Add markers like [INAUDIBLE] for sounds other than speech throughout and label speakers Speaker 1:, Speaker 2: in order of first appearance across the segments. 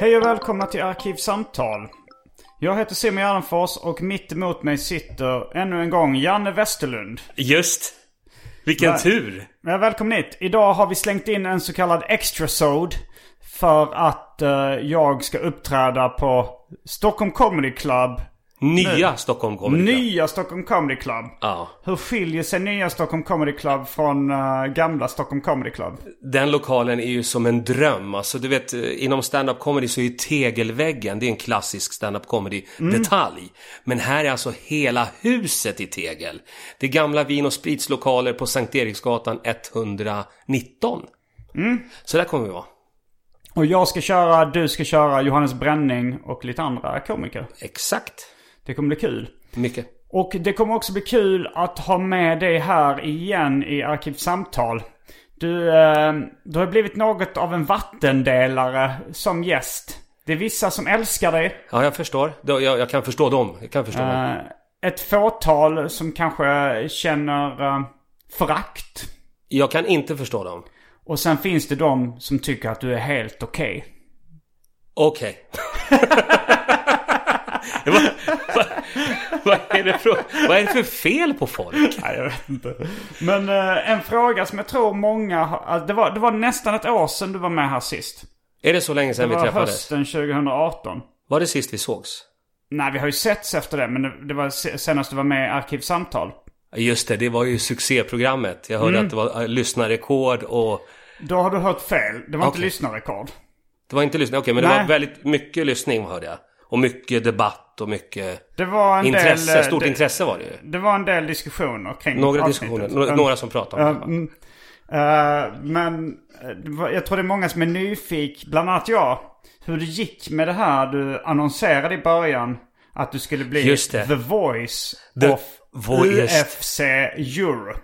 Speaker 1: Hej och välkomna till Arkivsamtal. Jag heter Simon Gärdenfors och mitt emot mig sitter ännu en gång Janne Westerlund.
Speaker 2: Just! Vilken
Speaker 1: Nej.
Speaker 2: tur!
Speaker 1: Ja, Välkommen hit. Idag har vi slängt in en så kallad extrasode. För att eh, jag ska uppträda på Stockholm Comedy Club.
Speaker 2: Nya Stockholm Comedy Club.
Speaker 1: Nya Stockholm Comedy Club.
Speaker 2: Ja.
Speaker 1: Hur skiljer sig nya Stockholm Comedy Club från eh, gamla Stockholm Comedy Club?
Speaker 2: Den lokalen är ju som en dröm. Alltså du vet, eh, inom stand-up comedy så är ju tegelväggen, det är en klassisk stand-up comedy detalj. Men här är alltså hela huset i tegel. Det är gamla vin och spritslokaler på Sankt Eriksgatan 119. Så där kommer vi vara.
Speaker 1: Och jag ska köra, du ska köra, Johannes Bränning och lite andra komiker.
Speaker 2: Exakt.
Speaker 1: Det kommer bli kul.
Speaker 2: Mycket.
Speaker 1: Och det kommer också bli kul att ha med dig här igen i Arkivsamtal. Du, eh, du har blivit något av en vattendelare som gäst. Det är vissa som älskar dig.
Speaker 2: Ja, jag förstår. Jag, jag jag kan förstå dem. Jag kan förstå dem.
Speaker 1: Eh, Ett fåtal som kanske känner eh, förakt.
Speaker 2: Jag kan inte förstå dem.
Speaker 1: Och sen finns det de som tycker att du är helt okej.
Speaker 2: Okej. [LAUGHS] vad, vad, vad, är det för, vad är det för fel på folk?
Speaker 1: Nej, jag vet inte. Men eh, en fråga som jag tror många har... alltså, Det var, det var nästan ett år sedan du var med här sist.
Speaker 2: Är det så länge sedan
Speaker 1: Det
Speaker 2: vi
Speaker 1: var
Speaker 2: träffades?
Speaker 1: hösten 2018.
Speaker 2: Var det sist vi sågs?
Speaker 1: Nej, vi har ju setts efter det, men det- det var se- senast du var med i Arkivsamtal.
Speaker 2: Just det, det var ju succéprogrammet. Jag hörde
Speaker 1: Mm.
Speaker 2: att det var eh, lyssnarrekord och...
Speaker 1: Då har du hört fel. Det var inte
Speaker 2: Okej.
Speaker 1: lyssnarrekord.
Speaker 2: Det var inte lyssning, okej men det
Speaker 1: Nej.
Speaker 2: var väldigt mycket lyssning hörde jag. Och mycket debatt och mycket
Speaker 1: Det var en
Speaker 2: intresse.
Speaker 1: del... eh,
Speaker 2: Stort
Speaker 1: det,
Speaker 2: intresse var det ju.
Speaker 1: Det var en del diskussioner kring
Speaker 2: Några
Speaker 1: avsnittet.
Speaker 2: diskussioner, några,
Speaker 1: Mm.
Speaker 2: några som pratade om det. va?
Speaker 1: Mm. Eh, men eh, det var- jag tror det är många som är nyfik, bland annat jag, hur det gick med det här du annonserade i början. Att du skulle bli
Speaker 2: Just det.
Speaker 1: the voice
Speaker 2: The
Speaker 1: of
Speaker 2: voice.
Speaker 1: UFC Europe.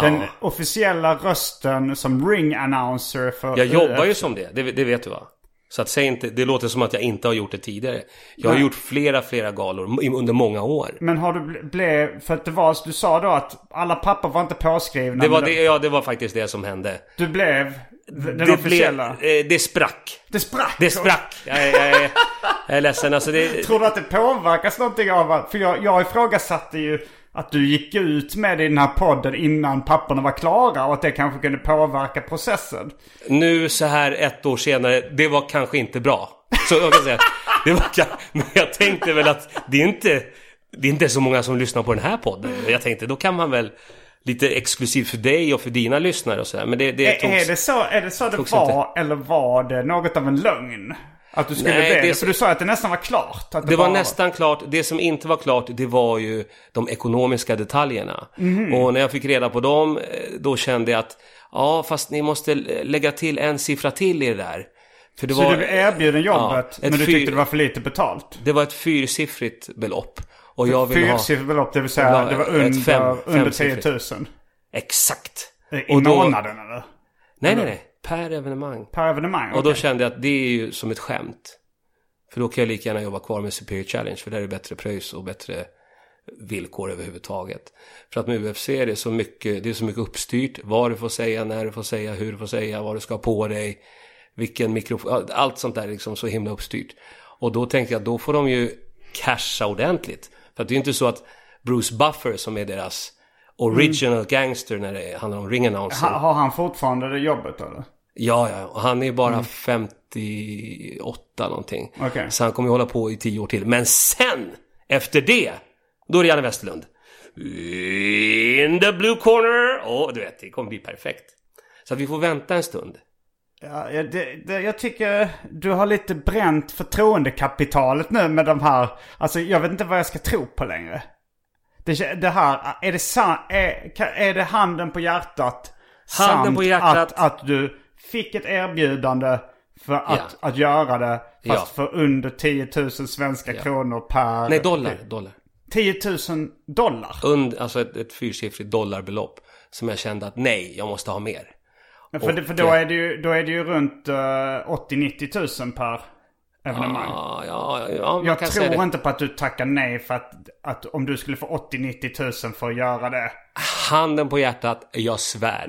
Speaker 1: Den officiella rösten som ring announcer för
Speaker 2: Jag jobbar
Speaker 1: UFC.
Speaker 2: ju som det. det, det vet du va? Så att säg inte, det låter som att jag inte har gjort det tidigare. Jag har gjort flera, flera galor i- under många år.
Speaker 1: Men har du bl- blev, för att det var, du sa då att alla papper var inte påskrivna.
Speaker 2: Det var,
Speaker 1: men
Speaker 2: det, ja, det var faktiskt det som hände.
Speaker 1: Du blev den
Speaker 2: det,
Speaker 1: officiella.
Speaker 2: blev- eh, det sprack.
Speaker 1: Det sprack.
Speaker 2: Det sprack. Jag, jag, jag, jag är ledsen. Alltså det,
Speaker 1: Tror du att det påverkas någonting av att, för jag, jag ifrågasatte ju att du gick ut med i den här podden innan papperna var klara och att det kanske kunde påverka processen.
Speaker 2: nu så här ett år senare, det var kanske inte bra. Så jag kan säga, att det var, ka- [LAUGHS] men jag tänkte väl att det är inte det är inte så många som lyssnar på den här podden. Jag tänkte då kan man väl lite exklusivt för dig och för dina lyssnare och sådär. Men det, det
Speaker 1: Är,
Speaker 2: togs-
Speaker 1: är det så, är det, så det
Speaker 2: togs
Speaker 1: var eller var det något av en lögn? Att du skulle
Speaker 2: Nej,
Speaker 1: bli
Speaker 2: det
Speaker 1: det?
Speaker 2: är
Speaker 1: För
Speaker 2: så-
Speaker 1: du sa att det nästan var klart. Att det,
Speaker 2: Det var
Speaker 1: bara
Speaker 2: nästan klart. Det som inte var klart, det var ju de ekonomiska detaljerna.
Speaker 1: Mhm.
Speaker 2: Och när jag fick reda på dem, eh, då kände jag att ja, fast ni måste l- lägga till en siffra till i det där. För det
Speaker 1: Så du blev erbjuden jobbet
Speaker 2: ett
Speaker 1: men du
Speaker 2: fyr-
Speaker 1: tyckte det var för lite betalt?
Speaker 2: Det var ett fyrsiffrigt belopp. Och jag vill ha...
Speaker 1: Fyrsiffrigt belopp, det vill säga
Speaker 2: Jag vill ha
Speaker 1: det var
Speaker 2: ett
Speaker 1: under,
Speaker 2: fem-
Speaker 1: under 10
Speaker 2: femsiffrigt.
Speaker 1: 000.
Speaker 2: Exakt.
Speaker 1: Eh, I
Speaker 2: Och då-
Speaker 1: månaden eller?
Speaker 2: Nej, nej, nej. Per evenemang.
Speaker 1: Per evenemang?
Speaker 2: Och då
Speaker 1: okej.
Speaker 2: kände jag att det är ju som ett skämt. För då kan jag lika gärna jobba kvar med Superior Challenge, för där är det bättre pröjs och bättre villkor överhuvudtaget. För att med UFC är det så mycket, det är så mycket uppstyrt. Vad du får säga, när du får säga, hur du får säga, vad du ska ha på dig, vilken mikrofon, allt sånt där är liksom så himla uppstyrt. Och då tänkte jag, då får de ju casha ordentligt. För att det är inte så att Bruce Buffer som är deras original gangster när det handlar om ring announcing.
Speaker 1: Ha, har han fortfarande det jobbet eller?
Speaker 2: Ja, ja, och han är bara 58 någonting.
Speaker 1: Mm. Okej.
Speaker 2: Så han kommer ju hålla på i 10 år till. Men sen, efter det, då är det Janne Westerlund. In the blue corner! Åh, du vet, det kommer bli perfekt. Så att vi får vänta en stund.
Speaker 1: Ja, ja, det, det, jag tycker du har lite bränt förtroendekapitalet nu med de här. Alltså jag vet inte vad jag ska tro på längre. Det, kä- det här, är det, sa, är, ka- är det handen på hjärtat?
Speaker 2: Handen
Speaker 1: samt
Speaker 2: på hjärtat.
Speaker 1: Att, att du fick ett erbjudande för att, att göra det. Fast
Speaker 2: Ja.
Speaker 1: för under 10 000 svenska kronor per...
Speaker 2: Nej, dollar, dollar.
Speaker 1: 10 000 dollar.
Speaker 2: Und, alltså ett, ett fyrsiffrigt dollarbelopp. Som jag kände att nej, jag måste ha mer.
Speaker 1: Men för, det, för då, är det ju, då är det ju runt eh, 80-90 000 per evenemang.
Speaker 2: Ja, ja, ja, man
Speaker 1: Jag
Speaker 2: kan säga
Speaker 1: tror
Speaker 2: det.
Speaker 1: inte på att du tackar nej för att, att om du skulle få 80-90 000 för att göra det.
Speaker 2: Handen på hjärtat, jag svär.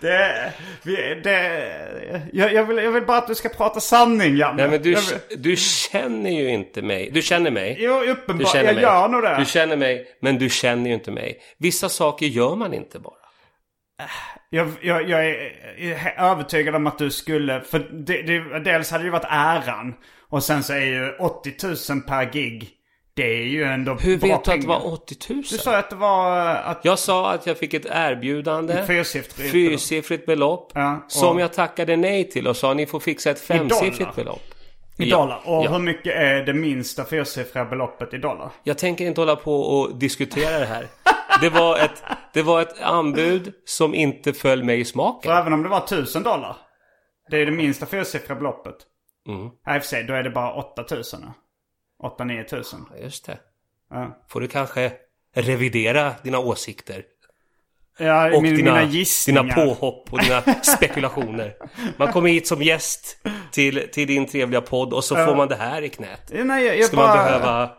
Speaker 1: Det... Vi, det jag, jag, vill, jag vill bara att du ska prata sanning, Janne.
Speaker 2: Nej men du,
Speaker 1: Jag vill-
Speaker 2: du känner ju inte mig. Du känner mig.
Speaker 1: Jo,
Speaker 2: Du
Speaker 1: uppenbart.
Speaker 2: känner
Speaker 1: Jag
Speaker 2: mig.
Speaker 1: gör nog det.
Speaker 2: Du känner mig, men du känner ju inte mig. Vissa saker gör man inte bara.
Speaker 1: jag, jag, jag är övertygad om att du skulle... För det, det, dels hade det ju varit äran. Och sen så är ju 80 000 per gig. Det är ju ändå
Speaker 2: Hur
Speaker 1: bra
Speaker 2: vet du att det
Speaker 1: pengar.
Speaker 2: var 80 000?
Speaker 1: Du sa att det var... eh, Att,
Speaker 2: Jag sa att jag fick ett erbjudande.
Speaker 1: Fyrsiffrigt
Speaker 2: Eh, fyrsiffrigt belopp.
Speaker 1: Ja, och-
Speaker 2: Som jag tackade nej till och sa ni får fixa ett femsiffrigt belopp.
Speaker 1: I
Speaker 2: Ja,
Speaker 1: dollar. Och
Speaker 2: ja.
Speaker 1: hur mycket är det minsta fyrsiffriga beloppet i dollar?
Speaker 2: Jag tänker inte hålla på och diskutera det här. Det var ett, det var ett anbud som inte föll mig i
Speaker 1: För
Speaker 2: smaken.
Speaker 1: även om det var 1000 dollar. Det är det minsta fyrsiffriga beloppet.
Speaker 2: Mm.
Speaker 1: Nej, i och för sig, då är det bara 8000. 8-9 tusen.
Speaker 2: Just det.
Speaker 1: Ja.
Speaker 2: Får du kanske revidera dina åsikter.
Speaker 1: Ja,
Speaker 2: och
Speaker 1: min,
Speaker 2: dina,
Speaker 1: mina
Speaker 2: dina
Speaker 1: gissningar.
Speaker 2: påhopp och dina spekulationer. Man kommer hit som gäst till, till din trevliga podd och så får man det här i knät.
Speaker 1: Ja, Nej, jag, jag
Speaker 2: Ska
Speaker 1: bara...
Speaker 2: man behöva...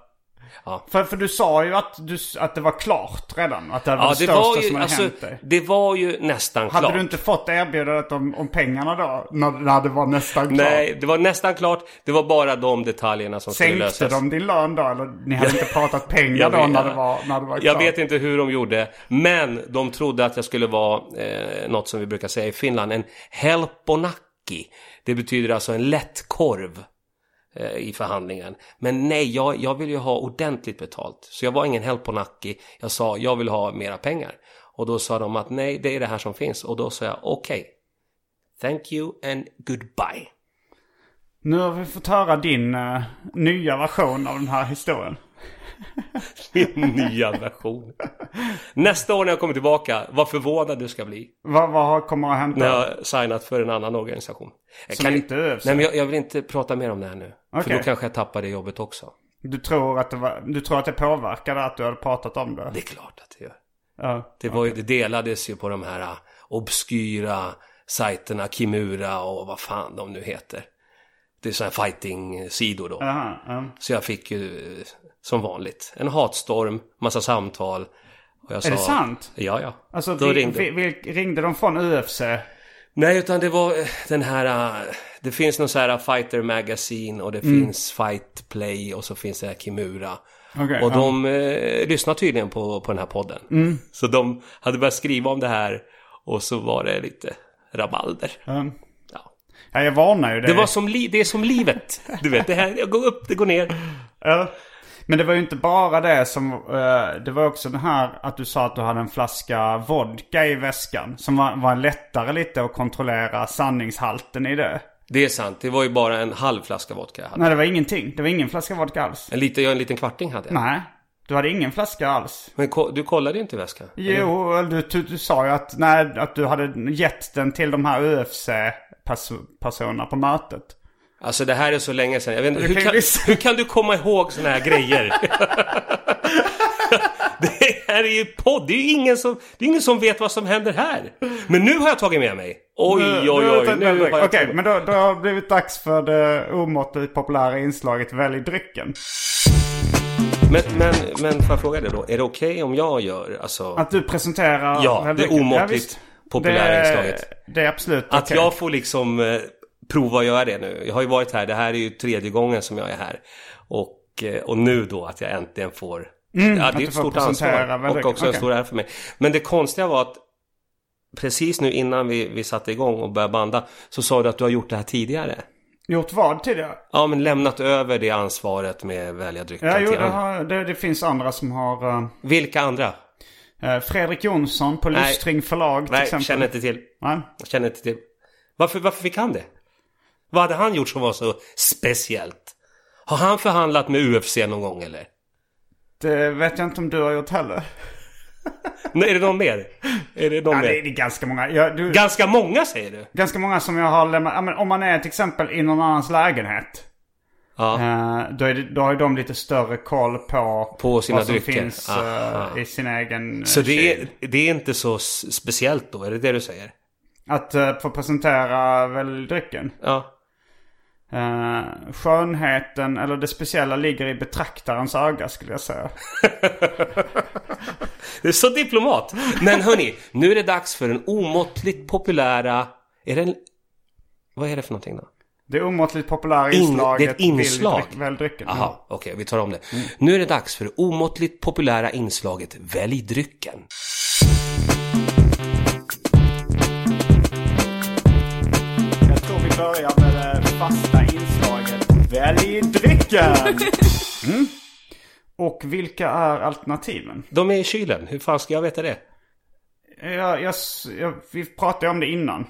Speaker 1: För, för du sa ju att, du, att det var klart redan. Att det var
Speaker 2: Ja,
Speaker 1: det
Speaker 2: det
Speaker 1: största
Speaker 2: var, ju,
Speaker 1: som hade
Speaker 2: alltså,
Speaker 1: hänt dig.
Speaker 2: det var ju nästan
Speaker 1: Hade
Speaker 2: klart.
Speaker 1: du inte fått erbjudandet om, om pengarna då? När, när det var nästan klart?
Speaker 2: Nej, det var nästan klart. Det var bara de detaljerna som skulle
Speaker 1: Sänkte
Speaker 2: lösas.
Speaker 1: de din lön då? Eller ni hade inte pratat
Speaker 2: [LAUGHS]
Speaker 1: pengar
Speaker 2: Jag
Speaker 1: då
Speaker 2: vet-
Speaker 1: när det var, när det var klart?
Speaker 2: Jag vet inte hur de gjorde, men de trodde att jag skulle vara eh, något som vi brukar säga i Finland, en helponakki. Det betyder alltså en lättkorv eh, i förhandlingen. Men nej, jag, jag vill ju ha ordentligt betalt. Så jag var ingen helponakki. Jag sa, jag vill ha mera pengar. Och då sa de att nej, det är det här som finns. Och då sa jag, okej. Thank you and goodbye. [LAUGHS]
Speaker 1: Nu har vi fått höra din eh, nya version av den här historien.
Speaker 2: Min nya version. Nästa år när jag kommer tillbaka, vad förvånad du ska bli.
Speaker 1: Vad, vad har- kommer att hända?
Speaker 2: när jag har signat för en annan organisation. Jag
Speaker 1: Som inte är UFC?
Speaker 2: Nej, men jag, jag vill inte prata mer om det här nu. För
Speaker 1: Okej.
Speaker 2: då kanske jag tappar det jobbet också.
Speaker 1: Du, tror att det var, du tror att det påverkade att du hade pratat om det?
Speaker 2: Det är klart att det gör.
Speaker 1: Ja.
Speaker 2: Det, var ju, det delades ju på de här ah, obskyra sajterna, Kimura och vad fan de nu heter. Det är sådana här fighting-sidor då.
Speaker 1: Aha, ja.
Speaker 2: Så jag fick ju eh, som vanligt en hatstorm, massa samtal. Och jag
Speaker 1: Är det sant?
Speaker 2: Ja, ja.
Speaker 1: Alltså,
Speaker 2: Då
Speaker 1: vi,
Speaker 2: ringde-
Speaker 1: ringde. Vi, vi, ringde de från UFC?
Speaker 2: Nej, utan det var eh, den här... eh, Det finns någon så här Fighter Magazine och det
Speaker 1: Mm.
Speaker 2: finns Fight Play och så finns det här Kimura.
Speaker 1: Okej,
Speaker 2: och
Speaker 1: ja. Mm.
Speaker 2: de eh, lyssnar tydligen på, på den här podden. Så de hade börjat skriva om det här och så var det lite rabalder.
Speaker 1: Um,
Speaker 2: Ja.
Speaker 1: ja, jag varnar ju dig.
Speaker 2: Det, var som li- det är som livet. Du vet, det här det går upp, det går ner.
Speaker 1: Ja. Men det var ju inte bara det som... eh, det var också den här att du sa att du hade en flaska vodka i väskan. Som var, var lättare lite att kontrollera sanningshalten i det.
Speaker 2: Det är sant, det var ju bara en halv flaska vodka jag hade.
Speaker 1: Nej, det var ingenting. Det var ingen flaska vodka alls.
Speaker 2: En liten, ja, en liten kvarting hade jag.
Speaker 1: Nej, du hade ingen flaska alls.
Speaker 2: Men ko- du kollade ju inte väskan?
Speaker 1: Jo, du, du, du sa ju att, nej, att du hade gett den till de här UFC-personerna på mötet.
Speaker 2: Alltså det här är så länge sedan. Jag vet inte,
Speaker 1: Du
Speaker 2: hur,
Speaker 1: kan ju
Speaker 2: kan,
Speaker 1: lyssna.
Speaker 2: hur kan du komma ihåg såna här [LAUGHS] grejer? det här är ju podd. Det är ju ingen som, det är ingen som vet vad som händer här. Men nu har jag tagit med mig. Oj, oj, oj.
Speaker 1: Nu,
Speaker 2: Nu har
Speaker 1: Okej,
Speaker 2: jag...
Speaker 1: men då, då har det blivit dags för det omåttligt populära inslaget Välj drycken.
Speaker 2: men, men, men får jag fråga dig då? Är det okej om jag gör, alltså...
Speaker 1: Att du presenterar...
Speaker 2: Ja,
Speaker 1: Välj
Speaker 2: det
Speaker 1: drycken.
Speaker 2: omåttligt
Speaker 1: visst.
Speaker 2: populära
Speaker 1: det,
Speaker 2: inslaget.
Speaker 1: Det är absolut
Speaker 2: Att
Speaker 1: okej.
Speaker 2: jag får liksom eh, prova att göra det nu. Jag har ju varit här, det här är ju tredje gången som jag är här. Och, eh, och nu då att jag äntligen får... ja,
Speaker 1: Mm, att
Speaker 2: det är
Speaker 1: du
Speaker 2: ett
Speaker 1: får
Speaker 2: stort
Speaker 1: presentera
Speaker 2: ansvar
Speaker 1: väldigt-
Speaker 2: och också en
Speaker 1: okej.
Speaker 2: stor ära för mig. Men det konstiga var att precis nu innan vi, vi satte igång och började banda så sa du att du har gjort det här tidigare.
Speaker 1: Gjort vad tidigare?
Speaker 2: Ja, men lämnat över det ansvaret med välja drycken
Speaker 1: Ja, jo,
Speaker 2: till
Speaker 1: det,
Speaker 2: andra.
Speaker 1: har, det, det finns andra som har...
Speaker 2: Vilka andra?
Speaker 1: eh, Fredrik Jonsson på
Speaker 2: Nej.
Speaker 1: Lystring förlag till
Speaker 2: Nej,
Speaker 1: exempel.
Speaker 2: känner inte till.
Speaker 1: Nej.
Speaker 2: Känner inte till. Varför, varför fick han det? Vad hade han gjort som var så speciellt? Har han förhandlat med UFC någon gång eller?
Speaker 1: Det vet jag inte om du har gjort heller.
Speaker 2: Nej, är det någon mer? Är det någon
Speaker 1: Ja,
Speaker 2: mer?
Speaker 1: det är det är ganska många. Jag, du,
Speaker 2: Ganska många säger du?
Speaker 1: ganska många som jag har lämnat. Ja, men om man är till exempel i någon annans lägenhet.
Speaker 2: Ja.
Speaker 1: eh, Då, är det, då har ju de lite större koll på,
Speaker 2: På sina
Speaker 1: vad som
Speaker 2: drycker.
Speaker 1: finns eh,
Speaker 2: Aha.
Speaker 1: i sin egen eh,
Speaker 2: Så det
Speaker 1: kyl.
Speaker 2: är, det är inte så s- speciellt då? Är det det du säger?
Speaker 1: Att eh, få presentera väl drycken.
Speaker 2: Ja.
Speaker 1: Eh, skönheten eller det speciella ligger i betraktarens öga skulle jag säga.
Speaker 2: Det är så diplomat! Men hörni, nu är det dags för den omåttligt populära... Är det en... Vad är det för någonting då?
Speaker 1: Det omåttligt populära
Speaker 2: In-
Speaker 1: inslaget
Speaker 2: det är ett inslag.
Speaker 1: Välj, dryck- välj drycken.
Speaker 2: Aha, okej, vi tar om det. Mm. Nu är det dags för det omåttligt populära inslaget Välj drycken.
Speaker 1: Jag tror vi börjar med det fasta inslaget. Välj
Speaker 2: [LAUGHS]
Speaker 1: drycken! Mm. Och vilka är alternativen?
Speaker 2: De är i kylen, hur fan ska jag veta det?
Speaker 1: Jag, jag, jag, vi pratade ju om det innan.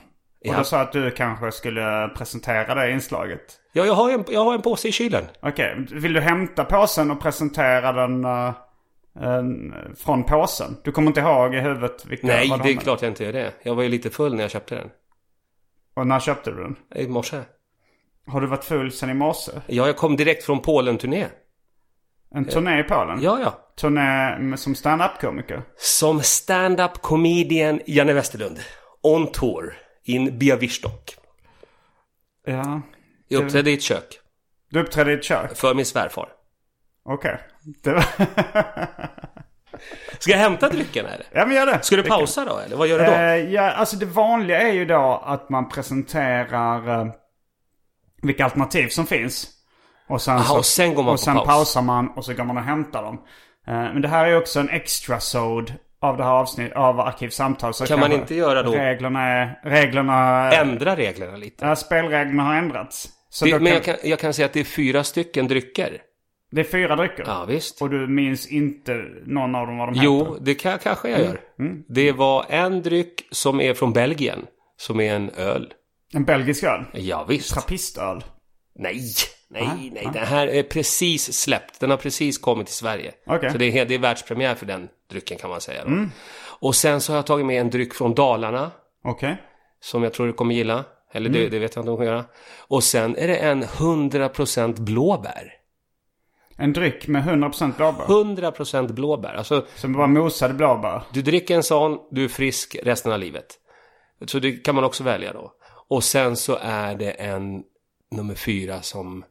Speaker 1: Och
Speaker 2: Ja.
Speaker 1: då sa jag att du kanske skulle presentera det inslaget.
Speaker 2: Ja, jag har en, jag har en påse i kylen.
Speaker 1: Okej, vill du hämta påsen och presentera den eh, en, från påsen? Du kommer inte ihåg i huvudet vilka
Speaker 2: Nej,
Speaker 1: vad de
Speaker 2: det är
Speaker 1: är.
Speaker 2: klart jag inte gör det. Jag var ju lite full när jag köpte den.
Speaker 1: Och när köpte du den?
Speaker 2: I morse.
Speaker 1: Har du varit full sen i morse?
Speaker 2: Ja, jag kom direkt från Polen-turné.
Speaker 1: En turné i Polen?
Speaker 2: Eh, Ja, ja.
Speaker 1: Turné med- som stand-up-komiker?
Speaker 2: Som stand-up comedian Janne Westerlund. On tour. In Biavistok.
Speaker 1: Ja. Mm.
Speaker 2: Jag uppträdde i ett kök.
Speaker 1: Du uppträdde i ett kök?
Speaker 2: För min svärfar.
Speaker 1: Okej. Det var... [LAUGHS]
Speaker 2: Ska jag hämta drycken eller?
Speaker 1: ja men gör det.
Speaker 2: Ska du pausa då eller? Vad gör du då?
Speaker 1: Eh, ja, alltså det vanliga är ju då att man presenterar eh, vilka alternativ som finns. Och sen,
Speaker 2: Aha,
Speaker 1: så,
Speaker 2: och sen går man
Speaker 1: och
Speaker 2: på
Speaker 1: sen
Speaker 2: paus.
Speaker 1: pausar man och så går man och hämtar dem. Eh, men det här är ju också en extra sod av det här avsnittet av Arkivsamtal. Så
Speaker 2: Kan man
Speaker 1: kanske
Speaker 2: inte göra då-
Speaker 1: Reglerna är... Reglerna...
Speaker 2: Ändra reglerna lite.
Speaker 1: ja, spelreglerna har ändrats. Så
Speaker 2: Det,
Speaker 1: då
Speaker 2: men
Speaker 1: kan,
Speaker 2: jag, kan, jag kan säga att det är fyra stycken drycker.
Speaker 1: det är fyra drycker.
Speaker 2: Ja, visst.
Speaker 1: Och du minns inte någon av dem vad de
Speaker 2: Jo,
Speaker 1: heter?
Speaker 2: det kan, kanske jag gör. Det var en dryck som är från Belgien. Som är en öl.
Speaker 1: En belgisk öl.
Speaker 2: Ja, visst.
Speaker 1: Trappistöl.
Speaker 2: Nej, nej, nej. Den här är precis släppt. Den har precis kommit till Sverige.
Speaker 1: Okej.
Speaker 2: Så det är, det är världspremiär för den drycken kan man säga. Då. Och sen så har jag tagit med en dryck från Dalarna.
Speaker 1: Okej.
Speaker 2: Som jag tror du kommer gilla. Eller det, det vet jag inte om du kommer göra. Och sen är det en 100% blåbär.
Speaker 1: En dryck med 100% blåbär.
Speaker 2: 100% blåbär. Alltså,
Speaker 1: Som bara mosade blåbär.
Speaker 2: du dricker en sån, du är frisk resten av livet. Så det kan man också välja då. Och sen så är det en nummer fyra som...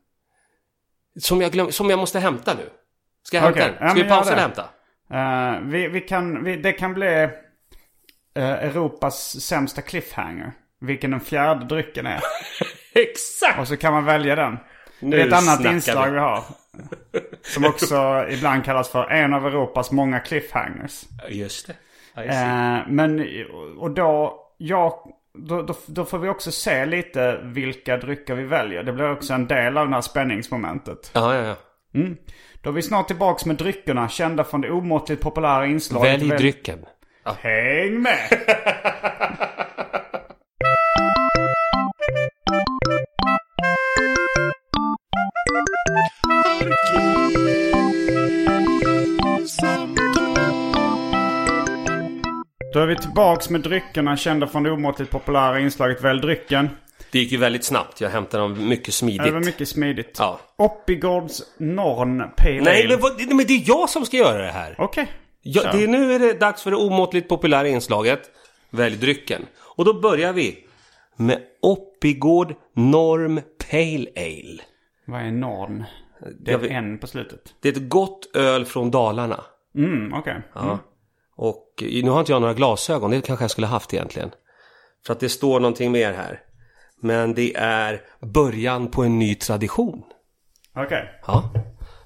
Speaker 2: Som jag, glöm, som jag måste hämta nu. Ska jag hämta
Speaker 1: Okej.
Speaker 2: den?
Speaker 1: Ja,
Speaker 2: Ska vi
Speaker 1: men gör
Speaker 2: pausa
Speaker 1: det.
Speaker 2: eller hämta?
Speaker 1: Eh, vi, vi kan, vi, det kan bli eh, Europas sämsta cliffhanger. Vilken den fjärde drycken är.
Speaker 2: Exakt!
Speaker 1: Och så kan man välja den.
Speaker 2: Nu
Speaker 1: Det är ett annat
Speaker 2: snackar
Speaker 1: inslag vi.
Speaker 2: vi.
Speaker 1: har. Som
Speaker 2: [LAUGHS]
Speaker 1: också ibland kallas för en av Europas många cliffhangers.
Speaker 2: Just det.
Speaker 1: Eh, men, och då, ja, då, då, då får vi också se lite vilka drycker vi väljer. Det blir också en del av det här spänningsmomentet.
Speaker 2: Ja, ja, ja.
Speaker 1: Då är vi snart tillbaks med dryckerna kända från det omåttligt populära inslaget.
Speaker 2: Välj
Speaker 1: Väl-
Speaker 2: drycken.
Speaker 1: Häng med! Då är vi tillbaks med dryckerna kända från det omåttligt populära inslaget Välj drycken.
Speaker 2: Det gick ju väldigt snabbt. Jag hämtade dem mycket
Speaker 1: Det var
Speaker 2: smidigt.
Speaker 1: mycket smidigt.
Speaker 2: Ja.
Speaker 1: Oppigårds Norn Pale
Speaker 2: Nej,
Speaker 1: Ale.
Speaker 2: men, vad, nej, men det är jag som ska göra det här.
Speaker 1: Okej.
Speaker 2: Ja, det, nu är det dags för det omåttligt populära inslaget Välj drycken. Och då börjar vi med Oppigård Norm Pale Ale.
Speaker 1: Vad är norm? Det
Speaker 2: Jag
Speaker 1: är
Speaker 2: vet-
Speaker 1: en på slutet.
Speaker 2: Det är ett gott öl från Dalarna.
Speaker 1: Mm, okej. Mm.
Speaker 2: Och eh, nu har inte jag några glasögon, det kanske jag skulle haft egentligen. För att det står någonting mer här. Men det är början på en ny tradition.
Speaker 1: Okej.
Speaker 2: Ja,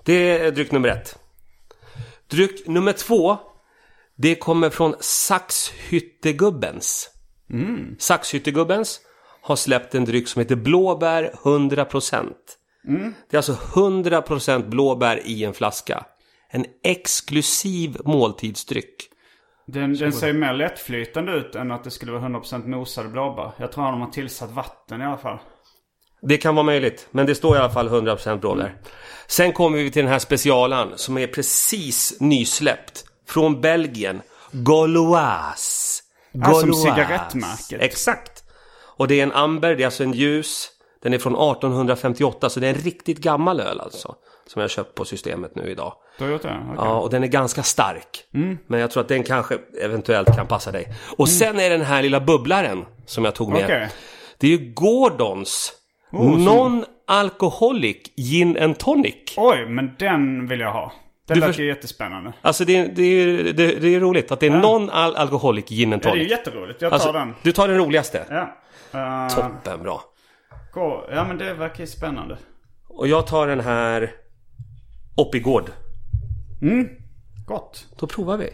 Speaker 2: det är dryck nummer ett. Dryck nummer två, det kommer från Saxhyttegubbens. Saxhyttegubbens har släppt en dryck som heter blåbär 100%. Det är alltså 100% blåbär i en flaska. En exklusiv måltidsdryck.
Speaker 1: Den, den ser ju mer lättflytande ut än att det skulle vara 100% mosade blåbär. Jag tror att de har tillsatt vatten i alla fall.
Speaker 2: Det kan vara möjligt, men det står i alla fall 100% blåbär. Sen kommer vi till den här specialan som är precis nysläppt. Från Belgien. Gauloise.
Speaker 1: Ja, som
Speaker 2: Gauloise.
Speaker 1: cigarettmärket.
Speaker 2: Exakt. Och det är en amber, det är alltså en ljus. Den är från 1858, så det är en riktigt gammal öl alltså. Som jag har köpt på systemet nu idag.
Speaker 1: Du har gjort det? Okej.
Speaker 2: Ja, och den är ganska stark.
Speaker 1: Mm.
Speaker 2: Men jag tror att den kanske eventuellt kan passa dig. Och sen är den här lilla bubblaren som jag tog med.
Speaker 1: Okej. Oh,
Speaker 2: Det är ju Gordons Non-Alcoholic Gin and Tonic.
Speaker 1: Oj, men den vill jag ha. Den
Speaker 2: Du
Speaker 1: lät
Speaker 2: förs-
Speaker 1: ju jättespännande.
Speaker 2: Alltså det är, det är, det är, det är roligt att det är Non-Alcoholic Gin and
Speaker 1: Ja, det är
Speaker 2: Tonic.
Speaker 1: ju jätteroligt. Jag tar
Speaker 2: alltså,
Speaker 1: den.
Speaker 2: Du tar den roligaste.
Speaker 1: Ja. Eh,
Speaker 2: Toppen bra.
Speaker 1: gå- ja, men det verkar ju spännande.
Speaker 2: Och jag tar den här Oppigård.
Speaker 1: Gott.
Speaker 2: Då provar vi.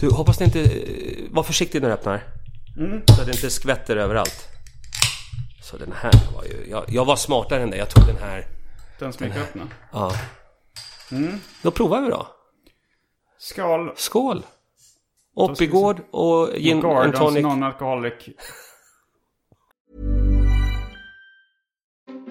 Speaker 2: Du, hoppas det inte... eh, Var försiktig när du öppnar.
Speaker 1: Mm.
Speaker 2: Så att det inte skvätter överallt. Så den här var ju... Jag, jag var smartare än dig. Jag tog den här.
Speaker 1: Den som gick upp nu.
Speaker 2: Ja. Då provar vi då.
Speaker 1: Skål.
Speaker 2: Skål! Oppigård och gin and
Speaker 1: Gordons
Speaker 2: tonic.
Speaker 1: non-alcoholic.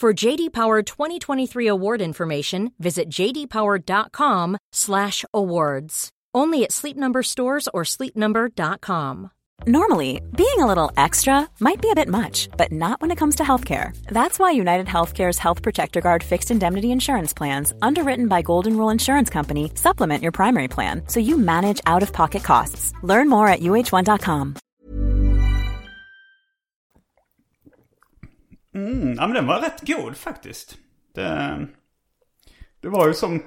Speaker 3: For JD Power 2023 award information, visit jdpower.com/awards. Only at Sleep Number stores or sleepnumber.com.
Speaker 4: Normally, being a little extra might be a bit much, but not when it comes to healthcare. That's why United Healthcare's Health Protector Guard fixed indemnity insurance plans, underwritten by Golden Rule Insurance Company, supplement your primary plan so you manage out of pocket costs. Learn more at uh1.com.
Speaker 1: Mm, ja, men den var rätt god faktiskt. Det, det var ju som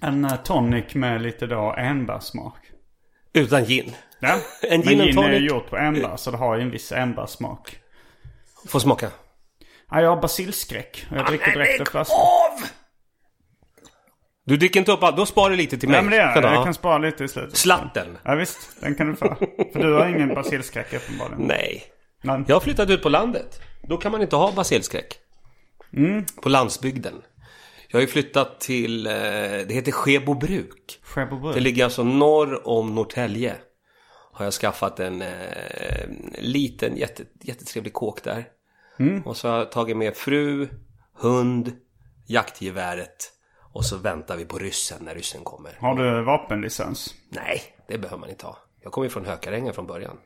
Speaker 1: en eh, tonic med lite då enbärsmak.
Speaker 2: Utan gin.
Speaker 1: Ja.
Speaker 2: En
Speaker 1: men
Speaker 2: gin and
Speaker 1: gin är ju
Speaker 2: tonic.
Speaker 1: gjort på enbär så det har ju en viss enbärsmak.
Speaker 2: Få smaka.
Speaker 1: Ja, jag har basilskräck.
Speaker 2: Ah,
Speaker 1: Jag dricker direkt ur flaskan.
Speaker 2: Du dricker inte upp allt. Då sparar du lite till mig.
Speaker 1: Ja, men det gör
Speaker 2: Kan
Speaker 1: jag.
Speaker 2: du ha?
Speaker 1: Jag kan spara lite i slutet.
Speaker 2: Slatten.
Speaker 1: Ja, visst. Den kan du få. För du har ingen basilskräck uppenbarligen.
Speaker 2: Nej.
Speaker 1: Men,
Speaker 2: Jag har flyttat ut på landet. Då kan man inte ha basilskräck. På landsbygden. Jag har ju flyttat till, eh, det heter Skebobruk.
Speaker 1: Skebobruk.
Speaker 2: Det ligger alltså norr om Norrtälje. Har jag skaffat en eh, liten jätte, jättetrevlig kåk där. Och så har jag tagit med fru, hund, jaktgeväret. Och så väntar vi på ryssen när ryssen kommer.
Speaker 1: Har du vapenlicens?
Speaker 2: Nej, det behöver man inte ha. Jag kommer ju från Hökarängen från början.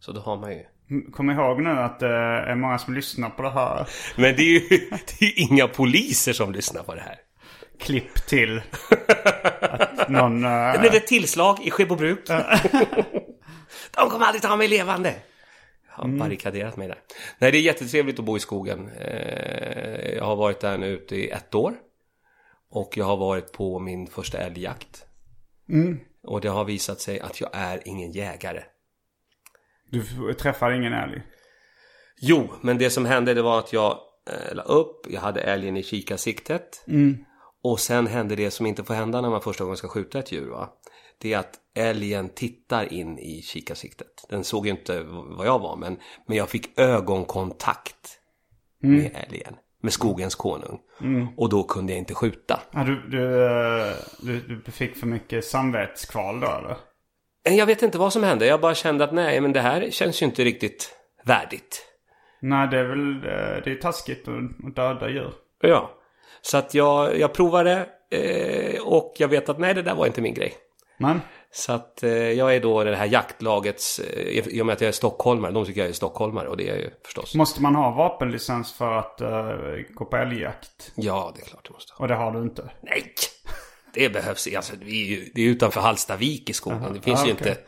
Speaker 2: Så då har man ju.
Speaker 1: Mm, Kom ihåg nu att det är många som lyssnar på det här.
Speaker 2: Men det är ju [LAUGHS] det är ju inga poliser som lyssnar på det här.
Speaker 1: Klipp till. Att någon...
Speaker 2: [LAUGHS]
Speaker 1: eh,
Speaker 2: Det blev ett tillslag i Skebobruk. [LAUGHS] De kommer aldrig ta mig levande. Jag har barrikaderat mig där. Nej, det är jättetrevligt att bo i skogen. Eh, Jag har varit där nu ute i ett år. Och jag har varit på min första älgjakt. Och det har visat sig att jag är ingen jägare.
Speaker 1: Du f- träffar ingen älg?
Speaker 2: Jo, men det som hände det var att jag eh, la upp, jag hade älgen i kikarsiktet. Och sen hände det som inte får hända när man första gången ska skjuta ett djur. Va? Det är att älgen tittar in i kikarsiktet. Den såg ju inte vad jag var, men, men jag fick ögonkontakt med älgen. Med skogens konung. Och då kunde jag inte skjuta.
Speaker 1: Ja, du, du, eh, du, du fick för mycket samvetskval då eller?
Speaker 2: Eh, Jag vet inte vad som hände. Jag bara kände att nej, men det här känns ju inte riktigt värdigt.
Speaker 1: Nej, det är väl eh, det är taskigt att att döda djur.
Speaker 2: Ja. Så att jag, jag provade eh, och jag vet att nej, det där var inte min grej.
Speaker 1: Men,
Speaker 2: Så att eh, jag är då det här jaktlagets, eh, i och med att jag är stockholmare, de tycker jag är stockholmare och det är jag ju förstås.
Speaker 1: måste man ha vapenlicens för att eh, gå på älgjakt?
Speaker 2: Ja, det är klart du måste.
Speaker 1: Och det har du inte?
Speaker 2: Nej! Det behövs alltså, vi är ju, det är utanför Hallstavik i skogen. Det finns
Speaker 1: Ah,
Speaker 2: ju
Speaker 1: okej.
Speaker 2: inte...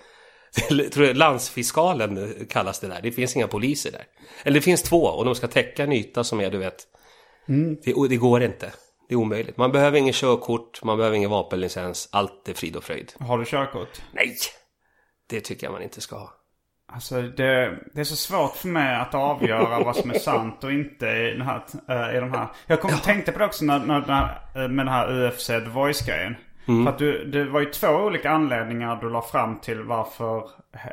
Speaker 2: [LAUGHS] Jag tror jag landsfiskalen kallas det där. Det finns inga poliser där. Eller det finns två och de ska täcka en yta som är, du vet...
Speaker 1: Mm.
Speaker 2: Det, det går inte. Det är omöjligt. Man behöver ingen körkort, man behöver ingen vapenlicens. Allt är frid och fröjd.
Speaker 1: Har du körkort?
Speaker 2: Nej! Det tycker jag man inte ska ha.
Speaker 1: Alltså det, det är så svårt för mig att avgöra vad som är sant och inte i, den här, eh, i de här. Jag kom och tänkte på det också när, när, när, eh, med den här UFC The Voice-grejen. För att du, det var ju två olika anledningar du la fram till varför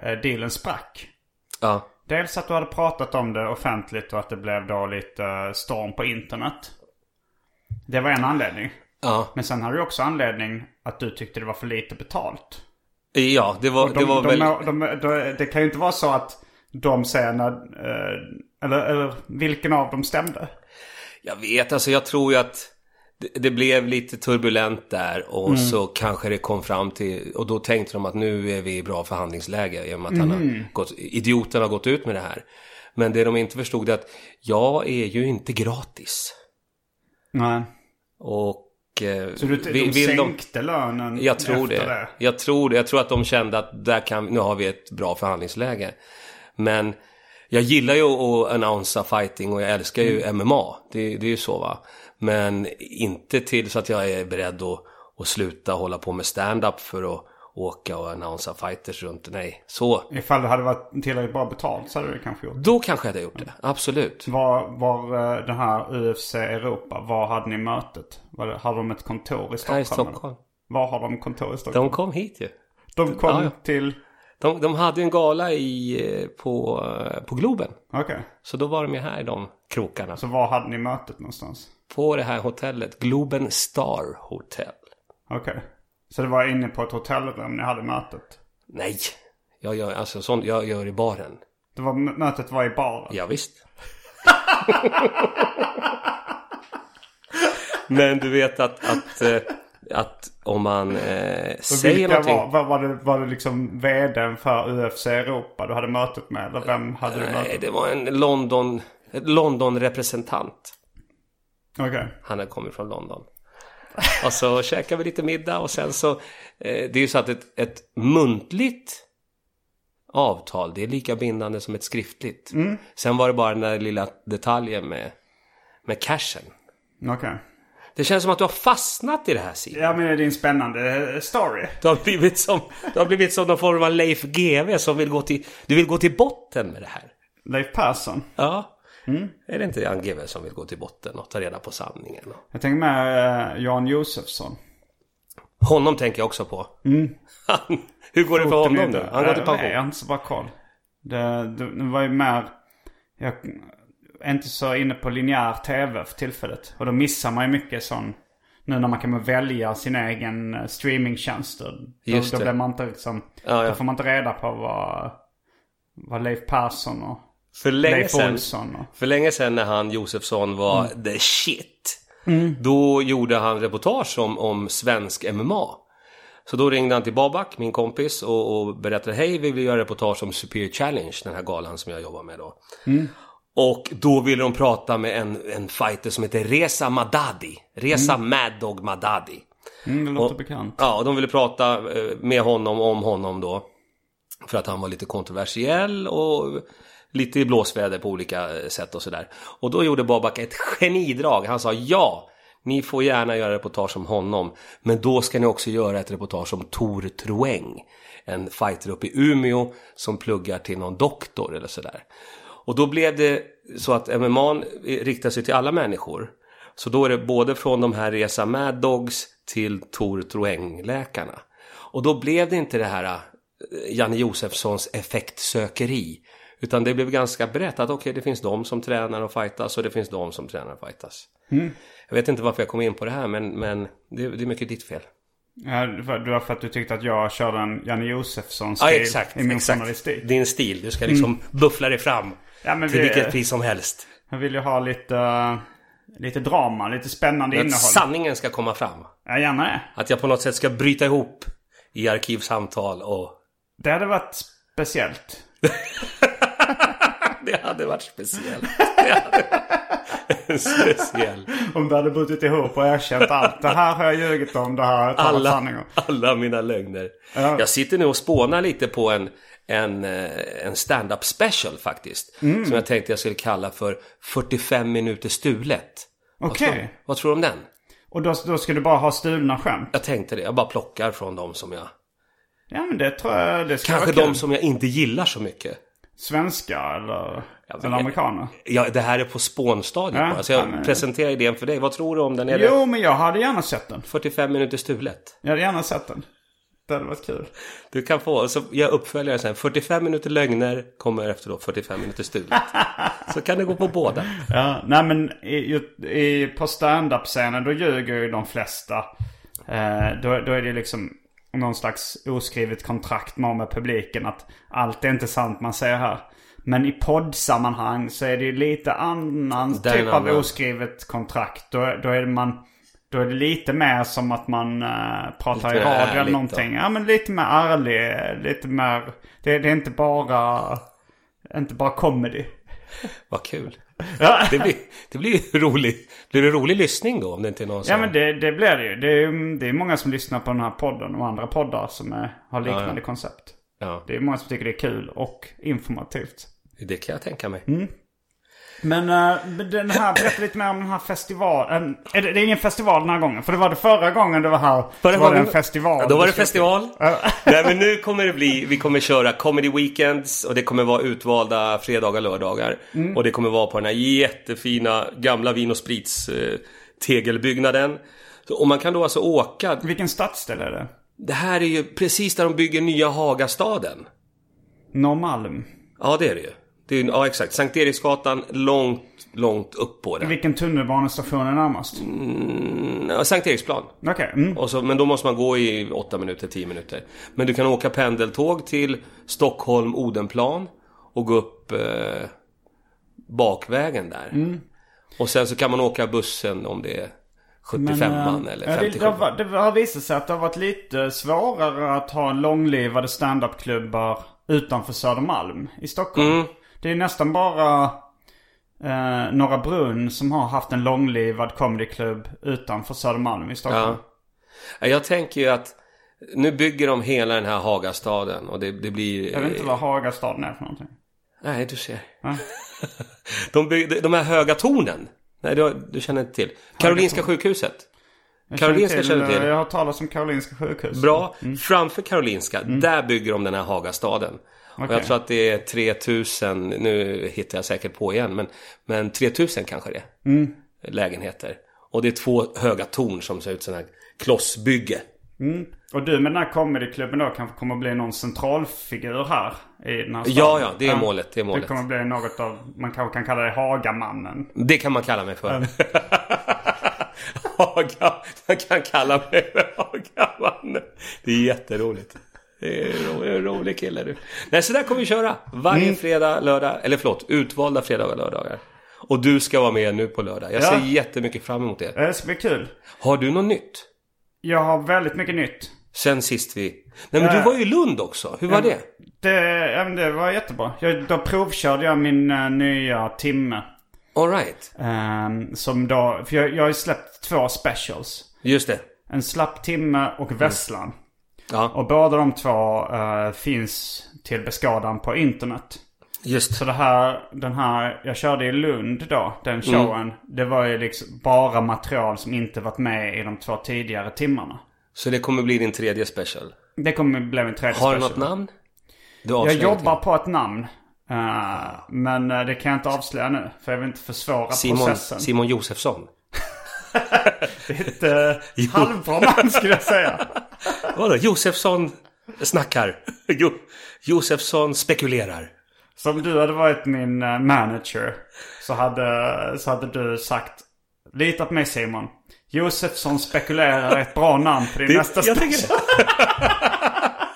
Speaker 1: eh, dealen sprack.
Speaker 2: Ja.
Speaker 1: Dels att du hade pratat om det offentligt och att det blev då lite eh, storm på internet. Det var en anledning.
Speaker 2: Ja.
Speaker 1: Men sen hade du också anledning att du tyckte det var för lite betalt.
Speaker 2: Ja, det var,
Speaker 1: Och
Speaker 2: det
Speaker 1: de,
Speaker 2: var
Speaker 1: de,
Speaker 2: väl...
Speaker 1: de, de, det kan ju inte vara så att de säger när, eh, eller, eller vilken av dem stämde.
Speaker 2: Jag vet, alltså jag tror ju att det, det blev lite turbulent där och
Speaker 1: Mm.
Speaker 2: så kanske det kom fram till... Och då tänkte de att nu är vi i bra förhandlingsläge i och med att han
Speaker 1: Mm.
Speaker 2: har gått, idioten har gått ut med det här. Men det de inte förstod är att jag är ju inte gratis.
Speaker 1: Nej.
Speaker 2: Och... eh,
Speaker 1: Så du, de
Speaker 2: vi-
Speaker 1: sänkte lönen
Speaker 2: jag tror
Speaker 1: efter
Speaker 2: det.
Speaker 1: det.
Speaker 2: Jag tror det. Jag tror att de kände att där kan, nu har vi ett bra förhandlingsläge. Men jag gillar ju att annonsa fighting och jag älskar ju
Speaker 1: Mm.
Speaker 2: MMA. Det, det är ju så va. Men inte till så att jag är beredd att, att sluta hålla på med stand-up för att åka och annonsa fighters runt. Nej, så.
Speaker 1: Ifall det hade varit tillräckligt bra betalt så hade det kanske gjort.
Speaker 2: Då kanske jag hade gjort det. Absolut.
Speaker 1: Var, var eh, den här UFC Europa, var hade ni mötet? Var, det- hade de ett kontor i Stockholm?
Speaker 2: Här i Stockholm.
Speaker 1: Var har de kontor i Stockholm?
Speaker 2: De kom hit ju.
Speaker 1: De, kom
Speaker 2: Ja, ja.
Speaker 1: till...
Speaker 2: De, de hade ju en gala i, eh, på, eh, på Globen.
Speaker 1: Okej.
Speaker 2: Så då var de ju här i de krokarna.
Speaker 1: Så var hade ni mötet någonstans?
Speaker 2: på det här hotellet, Globen Star Hotel.
Speaker 1: Okej. Så det var inne på ett hotellrum ni hade mötet?
Speaker 2: Nej, jag gör, alltså, sånt jag gör i baren.
Speaker 1: Det var, mötet var i baren?
Speaker 2: Ja, visst. [LAUGHS] Men du vet att, att, eh, att om man eh,
Speaker 1: Och
Speaker 2: säger
Speaker 1: vilka
Speaker 2: någonting...
Speaker 1: var, var, var, det, var det liksom vdn för UFC Europa du hade mötet med? Eller vem hade du
Speaker 2: Nej,
Speaker 1: mötet med?
Speaker 2: det var en London, ett London-representant.
Speaker 1: Okej.
Speaker 2: Han hade kommit från London. Och så käkade vi lite middag och sen så... Eh, det är ju så att ett, ett muntligt avtal, det är lika bindande som ett skriftligt. Sen var det bara den där lilla detaljen med, med cashen.
Speaker 1: Okej.
Speaker 2: Det känns som att du har fastnat i det här Simon.
Speaker 1: Ja men det är en spännande eh, story.
Speaker 2: Du, har blivit som, du har blivit som någon form av Leif GW som vill gå till... Du vill gå till botten med det här.
Speaker 1: Leif Persson.
Speaker 2: Ja. Är det inte Jan GW som vill gå till botten och ta reda på sanningen?
Speaker 1: Jag tänker med eh, Jan Josefsson.
Speaker 2: Honom tänker jag också på. [LAUGHS] Han, hur går det för honom nu? Han går till
Speaker 1: Nej, jag har
Speaker 2: pension.
Speaker 1: Mm. inte så bra koll. Det, det, det var ju mer... Jag är inte så inne på linjär tv för tillfället. Och då missar man ju mycket sån... Nu när man kan välja sin egen eh, streamingtjänst. Då,
Speaker 2: Just
Speaker 1: då
Speaker 2: det.
Speaker 1: blir man inte liksom...
Speaker 2: Ja, ja.
Speaker 1: Då får man inte reda på vad, vad Leif Persson och
Speaker 2: För länge
Speaker 1: Leif
Speaker 2: sedan,
Speaker 1: Olsson och...
Speaker 2: för länge sedan när han Josefsson var
Speaker 1: Mm.
Speaker 2: the shit. Då gjorde han reportage om, om svensk MMA. Så då ringde han till Babak, min kompis, och, och berättade hej, vi vill göra reportage om Superior Challenge, den här galan som jag jobbar med då.
Speaker 1: Mm.
Speaker 2: Och då ville de prata med en, en fighter som heter Reza Madadi. Reza Mad Dog Madadi.
Speaker 1: Mm, det låter bekant.
Speaker 2: Ja, och de ville prata eh, med honom om honom då. För att han var lite kontroversiell och lite i blåsväder på olika eh, sätt och sådär. Och då gjorde Babak ett genidrag. Han sa ja, ni får gärna göra reportage om honom. Men då ska ni också göra ett reportage om Tor Trueng. En fighter uppe i Umeå som pluggar till någon doktor eller sådär. Och då blev det så att MMA riktar sig till alla människor. Så då är det både från de här Resa Mad Dogs till Tor Troeng-läkarna. Och då blev det inte det här eh, Janne Josefssons effektsökeri. Utan det blev ganska brett att okej, det finns de som tränar och fightas och det finns de som tränar och fightas.
Speaker 1: Mm.
Speaker 2: Jag vet inte varför jag kom in på det här, men, men det, är- det är mycket ditt fel.
Speaker 1: Ja, det var det var för att du tyckte att jag körde en Janne Josefsson-stil
Speaker 2: Ja, exakt.
Speaker 1: i min
Speaker 2: exakt.
Speaker 1: journalistik. Mm.
Speaker 2: Din stil. Du ska liksom buffla dig fram.
Speaker 1: Ja, men
Speaker 2: till
Speaker 1: vi-
Speaker 2: vilket pris som helst.
Speaker 1: Jag vill ju ha lite, eh, lite drama, lite spännande
Speaker 2: Att
Speaker 1: innehåll.
Speaker 2: sanningen ska komma fram.
Speaker 1: Ja, gärna det.
Speaker 2: Att jag på något sätt ska bryta ihop i arkivsamtal och...
Speaker 1: Det hade varit speciellt.
Speaker 2: det hade varit speciellt. Det hade varit [LAUGHS] speciellt.
Speaker 1: Om du hade brutit ihop och erkänt allt. Det här har jag ljugit om, det här har jag talat sanning om.
Speaker 2: Alla, alla mina lögner. Jag sitter nu och spånar lite på en, en, eh, en stand-up special faktiskt.
Speaker 1: Mm.
Speaker 2: Som jag tänkte jag skulle kalla för 45 minuter stulet. Vad
Speaker 1: Okej.
Speaker 2: tror- Vad tror du om den?
Speaker 1: Och då, då ska du bara ha stulna skämt?
Speaker 2: Jag tänkte det. Jag bara plockar från de som jag...
Speaker 1: Ja, men det tror jag det ska
Speaker 2: Kanske
Speaker 1: vara
Speaker 2: de
Speaker 1: kul.
Speaker 2: som jag inte gillar så mycket.
Speaker 1: Svenskar eller,
Speaker 2: Jag vet
Speaker 1: eller amerikaner?
Speaker 2: Ja, det här är på spånstadiet
Speaker 1: Ja,
Speaker 2: bara. Så jag
Speaker 1: ja, men-
Speaker 2: presenterar idén för dig. Vad tror du om den? Är det
Speaker 1: Jo, men jag hade gärna sett den.
Speaker 2: 45 minuter stulet?
Speaker 1: Jag hade gärna sett den. Det hade varit kul.
Speaker 2: Du kan få, så jag uppföljer sen. 45 minuter lögner kommer efter då 45 minuter stulet. så kan det gå på båda.
Speaker 1: Ja, nej men i, i, på stand-up-scenen då ljuger ju de flesta. Eh, då, då är det liksom någon slags oskrivet kontrakt man har med publiken att allt är inte sant man säger här. Men i poddsammanhang så är det ju lite annan
Speaker 2: Det är en
Speaker 1: typ av
Speaker 2: annan.
Speaker 1: oskrivet kontrakt. Då, då är det man... Då är det lite mer som att man eh, pratar
Speaker 2: Lite
Speaker 1: i radio
Speaker 2: ärligt
Speaker 1: eller
Speaker 2: då.
Speaker 1: någonting. Ja men lite mer ärlig, lite mer... Det, det är inte bara... Inte bara comedy.
Speaker 2: Vad kul. Det blir, det blir ju roligt. Blir det rolig lyssning då om det inte är någon som...
Speaker 1: Ja men det, det blir det ju. Det är, ju- det är många som lyssnar på den här podden och andra poddar som är, har liknande koncept.
Speaker 2: Ja,
Speaker 1: Det är många som tycker det är kul och informativt.
Speaker 2: det kan jag tänka mig.
Speaker 1: Mm. Men eh, men den här, berätta lite mer om den här festivalen. Är det, det är ingen festival den här gången. För det var det förra gången du var här.
Speaker 2: Förra
Speaker 1: var det en
Speaker 2: gången-
Speaker 1: festival.
Speaker 2: Ja, då var det
Speaker 1: Du skulle-
Speaker 2: festival. [LAUGHS] Nej, men nu kommer det bli, vi kommer köra comedy weekends och det kommer vara utvalda fredagar, lördagar.
Speaker 1: Mm.
Speaker 2: Och det kommer vara på den här jättefina gamla Vin och Sprits eh, tegelbyggnaden. Så, och man kan då alltså åka.
Speaker 1: Vilken stadsdel är det?
Speaker 2: Det här är ju precis där de bygger nya Hagastaden.
Speaker 1: Norrmalm.
Speaker 2: Ja, det är det ju. Det är, ju- ja, exakt. Sankt Eriksgatan, långt, långt upp på den.
Speaker 1: Vilken tunnelbanestation är närmast?
Speaker 2: Mm. Ja, Sankt Eriksplan.
Speaker 1: Okej. Mm.
Speaker 2: Och så, men då måste man gå i 8 minuter, 10 minuter. Men du kan åka pendeltåg till Stockholm, Odenplan och gå upp eh, bakvägen där.
Speaker 1: Mm.
Speaker 2: Och sen så kan man åka bussen om det är 75 man
Speaker 1: eh,
Speaker 2: eller
Speaker 1: ja,
Speaker 2: 57.
Speaker 1: eh, det, det, har, det har visat sig att det har varit lite svårare att ha långlivade standupklubbar utanför Södermalm i Stockholm.
Speaker 2: Mm.
Speaker 1: Det är nästan bara eh, Norra Brunn som har haft en långlivad comedyklubb utanför Södermalm i Stockholm.
Speaker 2: Ja, Jag tänker ju att nu bygger de hela den här Hagastaden och det, det blir...
Speaker 1: Jag vet inte vad Hagastaden är för någonting.
Speaker 2: Nej, du ser. [LAUGHS] de, byggde, de här höga tornen. Nej, du, har- du känner inte till. Karolinska sjukhuset.
Speaker 1: Jag
Speaker 2: Karolinska känner du till?
Speaker 1: eh, Jag Mm. har talat om Karolinska sjukhuset.
Speaker 2: Bra. Framför Karolinska, där bygger de den här Hagastaden. Och jag
Speaker 1: Mm. Okej.
Speaker 2: tror att det är 3000, nu hittar jag säkert på igen, men, men 3000 kanske det är.
Speaker 1: Mm.
Speaker 2: Lägenheter. Och det är två höga torn som ser ut som en klossbygge.
Speaker 1: Och du med den här comedyklubben då kanske kommer att bli någon centralfigur här i den här staden.
Speaker 2: Ja, ja, det är målet, det är målet.
Speaker 1: Du kommer att bli något av, man kanske kan kalla det Hagamannen.
Speaker 2: Det kan man kalla mig för. [LAUGHS] Haga, man kan kalla mig för Hagamannen. Det är jätteroligt. Det är en ro- en rolig kille du. Nej, så där kommer vi köra. Varje fredag, lördag, eller förlåt, utvalda fredagar och lördagar. Och du ska vara med nu på lördag. Jag
Speaker 1: Ja.
Speaker 2: ser jättemycket fram emot det.
Speaker 1: Det ska bli Eh, kul.
Speaker 2: Har du något nytt?
Speaker 1: Jag har väldigt mycket nytt.
Speaker 2: Sen sist vi... Nej, men du var ju i Lund också. Hur var det?
Speaker 1: Det, ja, men det var jättebra. Jag, då provkörde jag min eh, nya timme.
Speaker 2: All right.
Speaker 1: Ehm, som då, för jag, jag har ju släppt två specials.
Speaker 2: Just det.
Speaker 1: En slapp timme
Speaker 2: Mm.
Speaker 1: och Vesslan.
Speaker 2: Ja,
Speaker 1: Och båda de två eh, finns till beskadan på internet.
Speaker 2: just.
Speaker 1: Så det här, den här jag körde i Lund då,
Speaker 2: Mm.
Speaker 1: den showen. Det var ju liksom bara material som inte varit med i de två tidigare timmarna.
Speaker 2: Så det kommer bli din tredje special.
Speaker 1: Det kommer bli min tredje
Speaker 2: Har du
Speaker 1: special.
Speaker 2: något namn? Du
Speaker 1: Jag
Speaker 2: avslöjar
Speaker 1: jobbar
Speaker 2: ingenting.
Speaker 1: på ett namn. Eh, men eh, det kan jag inte avslöja nu. För jag vill inte försvåra
Speaker 2: Simon,
Speaker 1: processen.
Speaker 2: Simon Josefsson.
Speaker 1: [LAUGHS] Ett eh, halvbra namn [LAUGHS] skulle jag säga.
Speaker 2: [LAUGHS] Vadå? Josefsson snackar. Jo, Josefsson spekulerar.
Speaker 1: Så om du hade varit min eh, manager så hade, så hade du sagt Lita på mig Simon. Josefsson spekulerar är ett bra namn på din nästa
Speaker 2: jag
Speaker 1: special.
Speaker 2: [LAUGHS]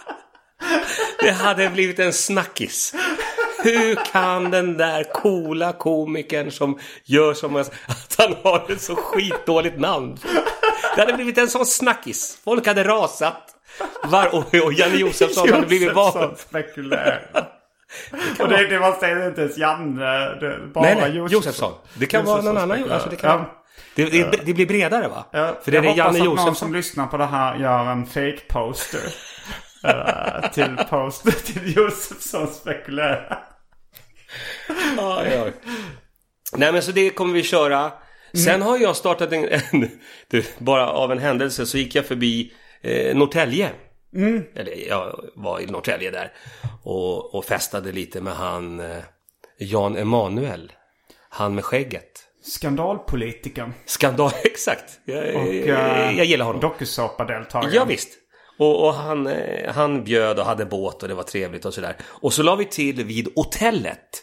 Speaker 2: Det hade blivit en snackis. Hur kan den där coola komikern som gör som jag- att han har ett så skitdåligt namn? Det hade blivit en sån snackis. Folk hade rasat. Var, och, och Janne Josefsson hade blivit
Speaker 1: Josefsson
Speaker 2: vald. [LAUGHS]
Speaker 1: spekulerar. Och det, det var säger inte ens Janne. Det, är bara
Speaker 2: Nej, nej,
Speaker 1: Josefsson.
Speaker 2: Josefsson. Det kan vara
Speaker 1: Josefsson
Speaker 2: någon annan.
Speaker 1: spekulerar.
Speaker 2: Alltså, det, kan,
Speaker 1: Ja.
Speaker 2: det, det, det blir bredare va?
Speaker 1: Ja,
Speaker 2: För det
Speaker 1: jag
Speaker 2: är
Speaker 1: hoppas
Speaker 2: Janne
Speaker 1: att någon
Speaker 2: Josefsson.
Speaker 1: som lyssnar på det här gör en fake poster.
Speaker 2: [LAUGHS]
Speaker 1: eh, till poster [LAUGHS] till Josefsson spekulerar.
Speaker 2: Ja, ja. Nej men så det kommer vi köra.
Speaker 1: Mm.
Speaker 2: Sen har jag startat en, en du, bara av en händelse så gick jag förbi eh, Norrtälje.
Speaker 1: Mm.
Speaker 2: Eller jag var i Norrtälje där och, och festade lite med han eh, Jan Emanuel. Han med skägget.
Speaker 1: Skandalpolitikern.
Speaker 2: Skandal, [LAUGHS] exakt. Jag,
Speaker 1: Och,
Speaker 2: jag,
Speaker 1: eh,
Speaker 2: jag gillar honom.
Speaker 1: Dokusåpadeltagaren.
Speaker 2: Ja, visst. Och, och han, eh, han bjöd och hade båt och det var trevligt och sådär. Och så la vi till vid hotellet.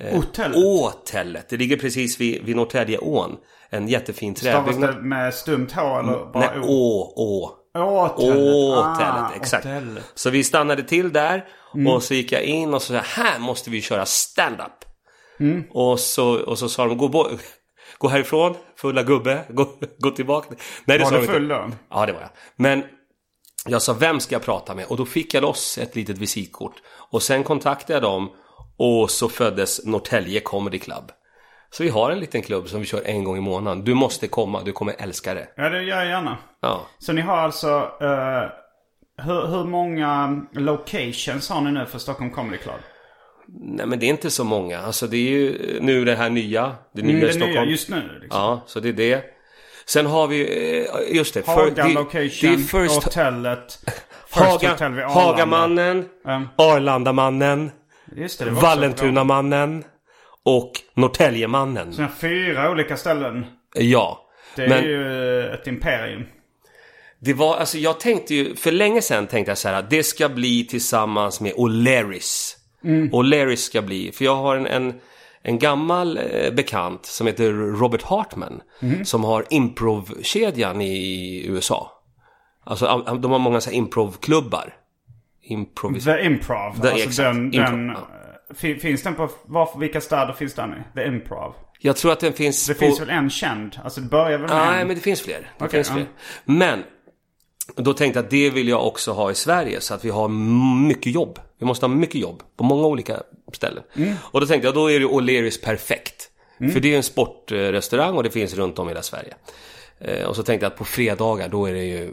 Speaker 1: Eh, Hotellet?
Speaker 2: Åtellet. Det ligger precis vid, vid Norrtäljeån. En jättefin
Speaker 1: Stavas det
Speaker 2: träbyggnad.
Speaker 1: med stumt H eller
Speaker 2: Mm, Nej,
Speaker 1: bara O?
Speaker 2: å, å.
Speaker 1: Åtellet.
Speaker 2: Åtellet,
Speaker 1: Ah,
Speaker 2: exakt.
Speaker 1: hotellet.
Speaker 2: Så vi stannade till där
Speaker 1: Mm.
Speaker 2: och så gick jag in och så sa här måste vi köra stand-up.
Speaker 1: Mm.
Speaker 2: Och, så, och så sa de gå, bo- gå härifrån, fulla gubbe, gå, gå tillbaka. Nej, det
Speaker 1: Var
Speaker 2: sa
Speaker 1: du
Speaker 2: de inte.
Speaker 1: full då?
Speaker 2: Ja, det var jag. Men jag sa, vem ska jag prata med? Och då fick jag loss ett litet visitkort. Och sen kontaktade jag dem och så föddes Norrtälje Comedy Club. Så vi har en liten klubb som vi kör en gång i månaden. Du måste komma, du kommer älska det.
Speaker 1: Ja, det gör jag gärna.
Speaker 2: Ja.
Speaker 1: Så ni har alltså... eh, hur, hur många locations har ni nu för Stockholm Comedy Club?
Speaker 2: Nej, men det är inte så många. Alltså det är ju nu det här nya. Det nya
Speaker 1: Mm,
Speaker 2: i
Speaker 1: det
Speaker 2: Stockholm.
Speaker 1: nya just nu liksom.
Speaker 2: Ja, så det är det. Sen har vi, eh, just det. för-
Speaker 1: Haga
Speaker 2: det,
Speaker 1: location,
Speaker 2: det är first,
Speaker 1: hotellet. First
Speaker 2: Haga,
Speaker 1: hotel vid Arlanda.
Speaker 2: Hagamannen,
Speaker 1: Mm.
Speaker 2: Arlandamannen.
Speaker 1: Just det, det var också ett bra-
Speaker 2: Vallentunamannen och Norrtäljemannen.
Speaker 1: Sådana fyra olika ställen.
Speaker 2: Ja.
Speaker 1: Det är
Speaker 2: Men
Speaker 1: ju ett imperium.
Speaker 2: det var, alltså jag tänkte ju, för länge sedan tänkte jag så här att det ska bli tillsammans med O'Learys.
Speaker 1: Mm.
Speaker 2: O'Learys ska bli, för jag har en, en, en gammal eh, bekant som heter Robert Hartman.
Speaker 1: Mm.
Speaker 2: Som har improvkedjan i USA. Alltså am- de har många så här improvklubbar. Improvis-
Speaker 1: The Improv.
Speaker 2: The-
Speaker 1: alltså
Speaker 2: exakt.
Speaker 1: den,
Speaker 2: Improv,
Speaker 1: den,
Speaker 2: ja.
Speaker 1: fi- Finns den på... Var, vilka städer finns den i? The Improv.
Speaker 2: jag tror att den finns
Speaker 1: Det
Speaker 2: på...
Speaker 1: finns väl en känd? Alltså det börjar väl med
Speaker 2: Nej,
Speaker 1: en?
Speaker 2: men det finns fler. Det
Speaker 1: Okej,
Speaker 2: finns fler.
Speaker 1: ja.
Speaker 2: Men då tänkte jag att det vill jag också ha i Sverige så att vi har m- mycket jobb. Vi måste ha mycket jobb på många olika ställen.
Speaker 1: Mm.
Speaker 2: Och då tänkte jag, då är det O'Learys perfekt. För det är ju en sportrestaurang och det finns runt om i hela Sverige. Eh, Och så tänkte jag att på fredagar då är det ju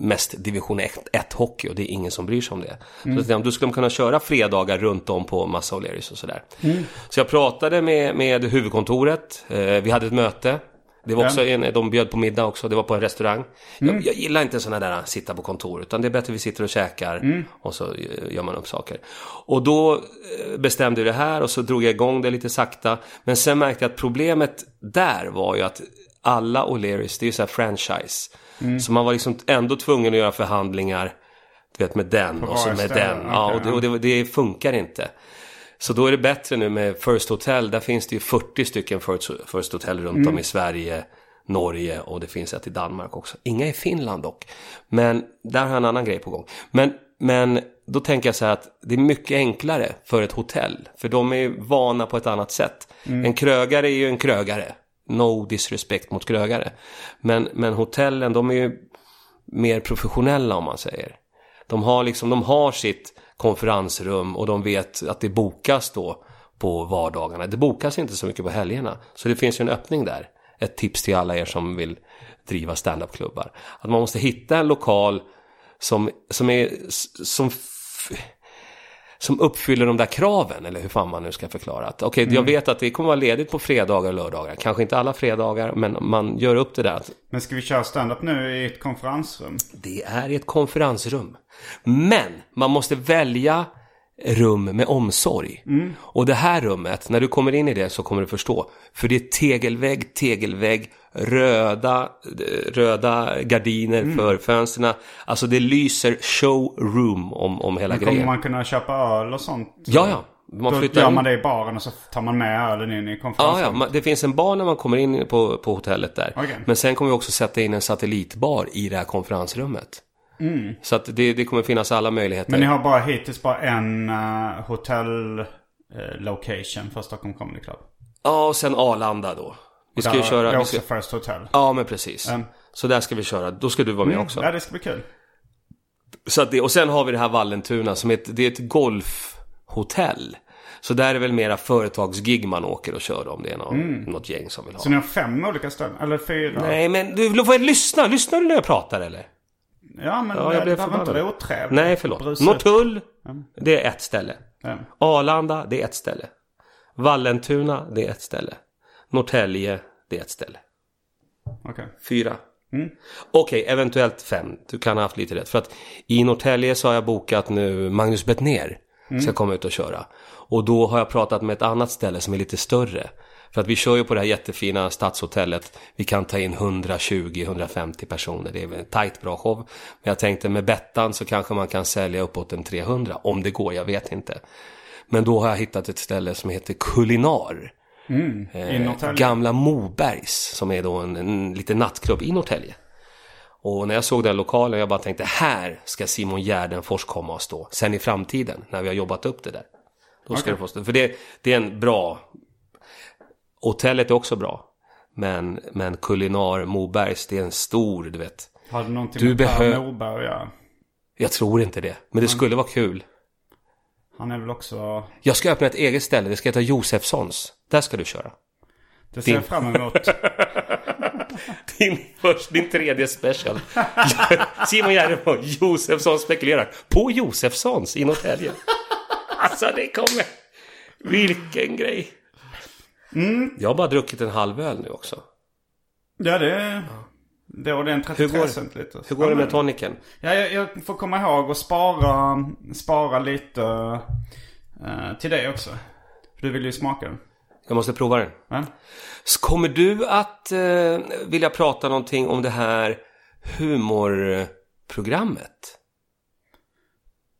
Speaker 2: mest division 1 hockey och det är ingen som bryr sig om det.
Speaker 1: Mm.
Speaker 2: Så jag tänkte, om du skulle kunna köra fredagar runt om på massa O'Learys och sådär.
Speaker 1: Mm.
Speaker 2: Så jag pratade med, med huvudkontoret, Eh, vi hade ett möte. Det var också en, de bjöd på middag också, det var på en restaurang.
Speaker 1: Mm.
Speaker 2: Jag, jag gillar inte sådana där sitta på kontor, utan det är bättre vi sitter och käkar
Speaker 1: Mm.
Speaker 2: och så eh, gör man upp saker. Och då eh, bestämde vi det här och så drog jag igång det lite sakta. Men sen märkte jag att problemet där var ju att alla O'Learys, det är ju så här franchise.
Speaker 1: Mm.
Speaker 2: Så man var liksom ändå tvungen att göra förhandlingar, du vet med den och så
Speaker 1: varje
Speaker 2: med
Speaker 1: ställe,
Speaker 2: den. Ja,
Speaker 1: okej,
Speaker 2: och det,
Speaker 1: ja.
Speaker 2: och det, det funkar inte. Så då är det bättre nu med First Hotel. Där finns det ju 40 stycken First, First Hotel runt om i Sverige, Norge och det finns ett i Danmark också. Inga i Finland dock. Men där har jag en annan grej på gång. Men, men då tänker jag så här att det är mycket enklare för ett hotell. För de är ju vana på ett annat sätt. En krögare är ju en krögare. No disrespect mot krögare. Men, men hotellen, de är ju mer professionella om man säger. De har liksom, de har sitt konferensrum och de vet att det bokas då på vardagarna. Det bokas inte så mycket på helgerna. Så det finns ju en öppning där. Ett tips till alla er som vill driva standupklubbar. Att man måste hitta en lokal som, som är, s- som f- som uppfyller de där kraven, eller hur fan man nu ska förklara. att Okej, jag vet att det kommer vara ledigt på fredagar och lördagar. Kanske inte alla fredagar, men man gör upp det där. att
Speaker 1: Men ska vi köra stand-up nu i ett konferensrum?
Speaker 2: det är i ett konferensrum. Men man måste välja rum med omsorg.
Speaker 1: Mm.
Speaker 2: Och det här rummet, när du kommer in i det så kommer du förstå. För det är tegelvägg, tegelvägg, röda, eh, röda gardiner
Speaker 1: Mm.
Speaker 2: för fönstren. Alltså det lyser showroom om, om hela
Speaker 1: Men Kommer
Speaker 2: grejen.
Speaker 1: man kunna köpa öl och sånt?
Speaker 2: Ja, ja. Man
Speaker 1: Då
Speaker 2: flyttar
Speaker 1: gör
Speaker 2: in-
Speaker 1: man det i baren och så tar man med ölen in i
Speaker 2: Ja,
Speaker 1: konferensen.
Speaker 2: ja, man- det finns en bar när man kommer in på, på hotellet där.
Speaker 1: Okej.
Speaker 2: Men sen kommer vi också sätta in en satellitbar i det här konferensrummet. Så att det, det kommer finnas alla möjligheter.
Speaker 1: Mm. Men ni har bara hittills bara en uh, hotell eh, location för Stockholm Comedy Club.
Speaker 2: Ja, och sen Arlanda då. Vi ska
Speaker 1: Där
Speaker 2: ju köra...
Speaker 1: Det är
Speaker 2: Vi ska...
Speaker 1: också First Hotel.
Speaker 2: Ja, men precis.
Speaker 1: Mm.
Speaker 2: Så där ska vi köra. Då ska du vara med också.
Speaker 1: Ja, det ska bli kul.
Speaker 2: Så att det, och sen har vi det här Vallentuna som är ett, det är ett golfhotell. Så där är väl mera företagsgig man åker och kör om det är någon, något gäng som vill ha.
Speaker 1: Mm. Så ni har fem olika ställen? Eller fyra?
Speaker 2: Nej, men du får lyssna. Lyssnar du när jag pratar eller?
Speaker 1: Ja, men
Speaker 2: Ja,
Speaker 1: det
Speaker 2: jag blev
Speaker 1: behöver inte vara
Speaker 2: förbannad.
Speaker 1: otrevligt.
Speaker 2: Nej, förlåt.
Speaker 1: Bruset.
Speaker 2: Norrtull, det är ett ställe.
Speaker 1: Ja.
Speaker 2: Arlanda, det är ett ställe. Vallentuna, det är ett ställe. Norrtälje, det är ett ställe.
Speaker 1: Okej.
Speaker 2: Fyra. Okej, eventuellt fem. Du kan ha haft lite rätt. För att i Norrtälje så har jag bokat nu Magnus Bettner ska komma ut och köra. Och då har jag pratat med ett annat ställe som är lite större. För att vi kör ju på det här jättefina stadshotellet. Vi kan ta in 120-150 personer. Det är väl en tajt bra show. Men jag tänkte med Bettan så kanske man kan sälja uppåt en 300. Om det går, jag vet inte. Men då har jag hittat ett ställe som heter Kulinar.
Speaker 1: Mm, I Norrtälje?
Speaker 2: Gamla Mobergs, som är då en, en liten nattklubb i Norrtälje. Och när jag såg den lokalen, jag bara tänkte här ska Simon Gärdenfors komma och stå. Sen i framtiden, när vi har jobbat upp det där. Då ska
Speaker 1: Okej.
Speaker 2: du få stå. För det, det är en bra... Hotellet är också bra. Men, men Kulinar Mobergs, det är en stor, du vet.
Speaker 1: Har det någonting
Speaker 2: Du
Speaker 1: med Per
Speaker 2: behö-
Speaker 1: Morberg att göra?
Speaker 2: Jag tror inte det,
Speaker 1: Mm.
Speaker 2: men det skulle vara kul.
Speaker 1: Han är väl också...
Speaker 2: Jag ska öppna ett eget ställe, det ska heta Josefssons. Där ska du köra.
Speaker 1: Det ser jag
Speaker 2: Din-
Speaker 1: fram
Speaker 2: [LAUGHS]
Speaker 1: emot.
Speaker 2: Din, först, din
Speaker 1: [LAUGHS]
Speaker 2: tredje special. Simon Gärdenfors, Josefsson spekulerar. På Josefssons i Norrtälje. Alltså det kommer. Vilken grej.
Speaker 1: Mm.
Speaker 2: Jag har bara druckit en halv öl nu också.
Speaker 1: Ja, det är... Det och det är en 33
Speaker 2: Hur går,
Speaker 1: cent liter.
Speaker 2: hur går det
Speaker 1: Ja,
Speaker 2: med
Speaker 1: men-
Speaker 2: toniken?
Speaker 1: Ja, jag, jag får komma ihåg att spara, spara lite eh, till dig också. För du vill ju smaka den.
Speaker 2: Jag måste prova den.
Speaker 1: Men,
Speaker 2: S- Kommer du att eh, vilja prata någonting om det här humorprogrammet?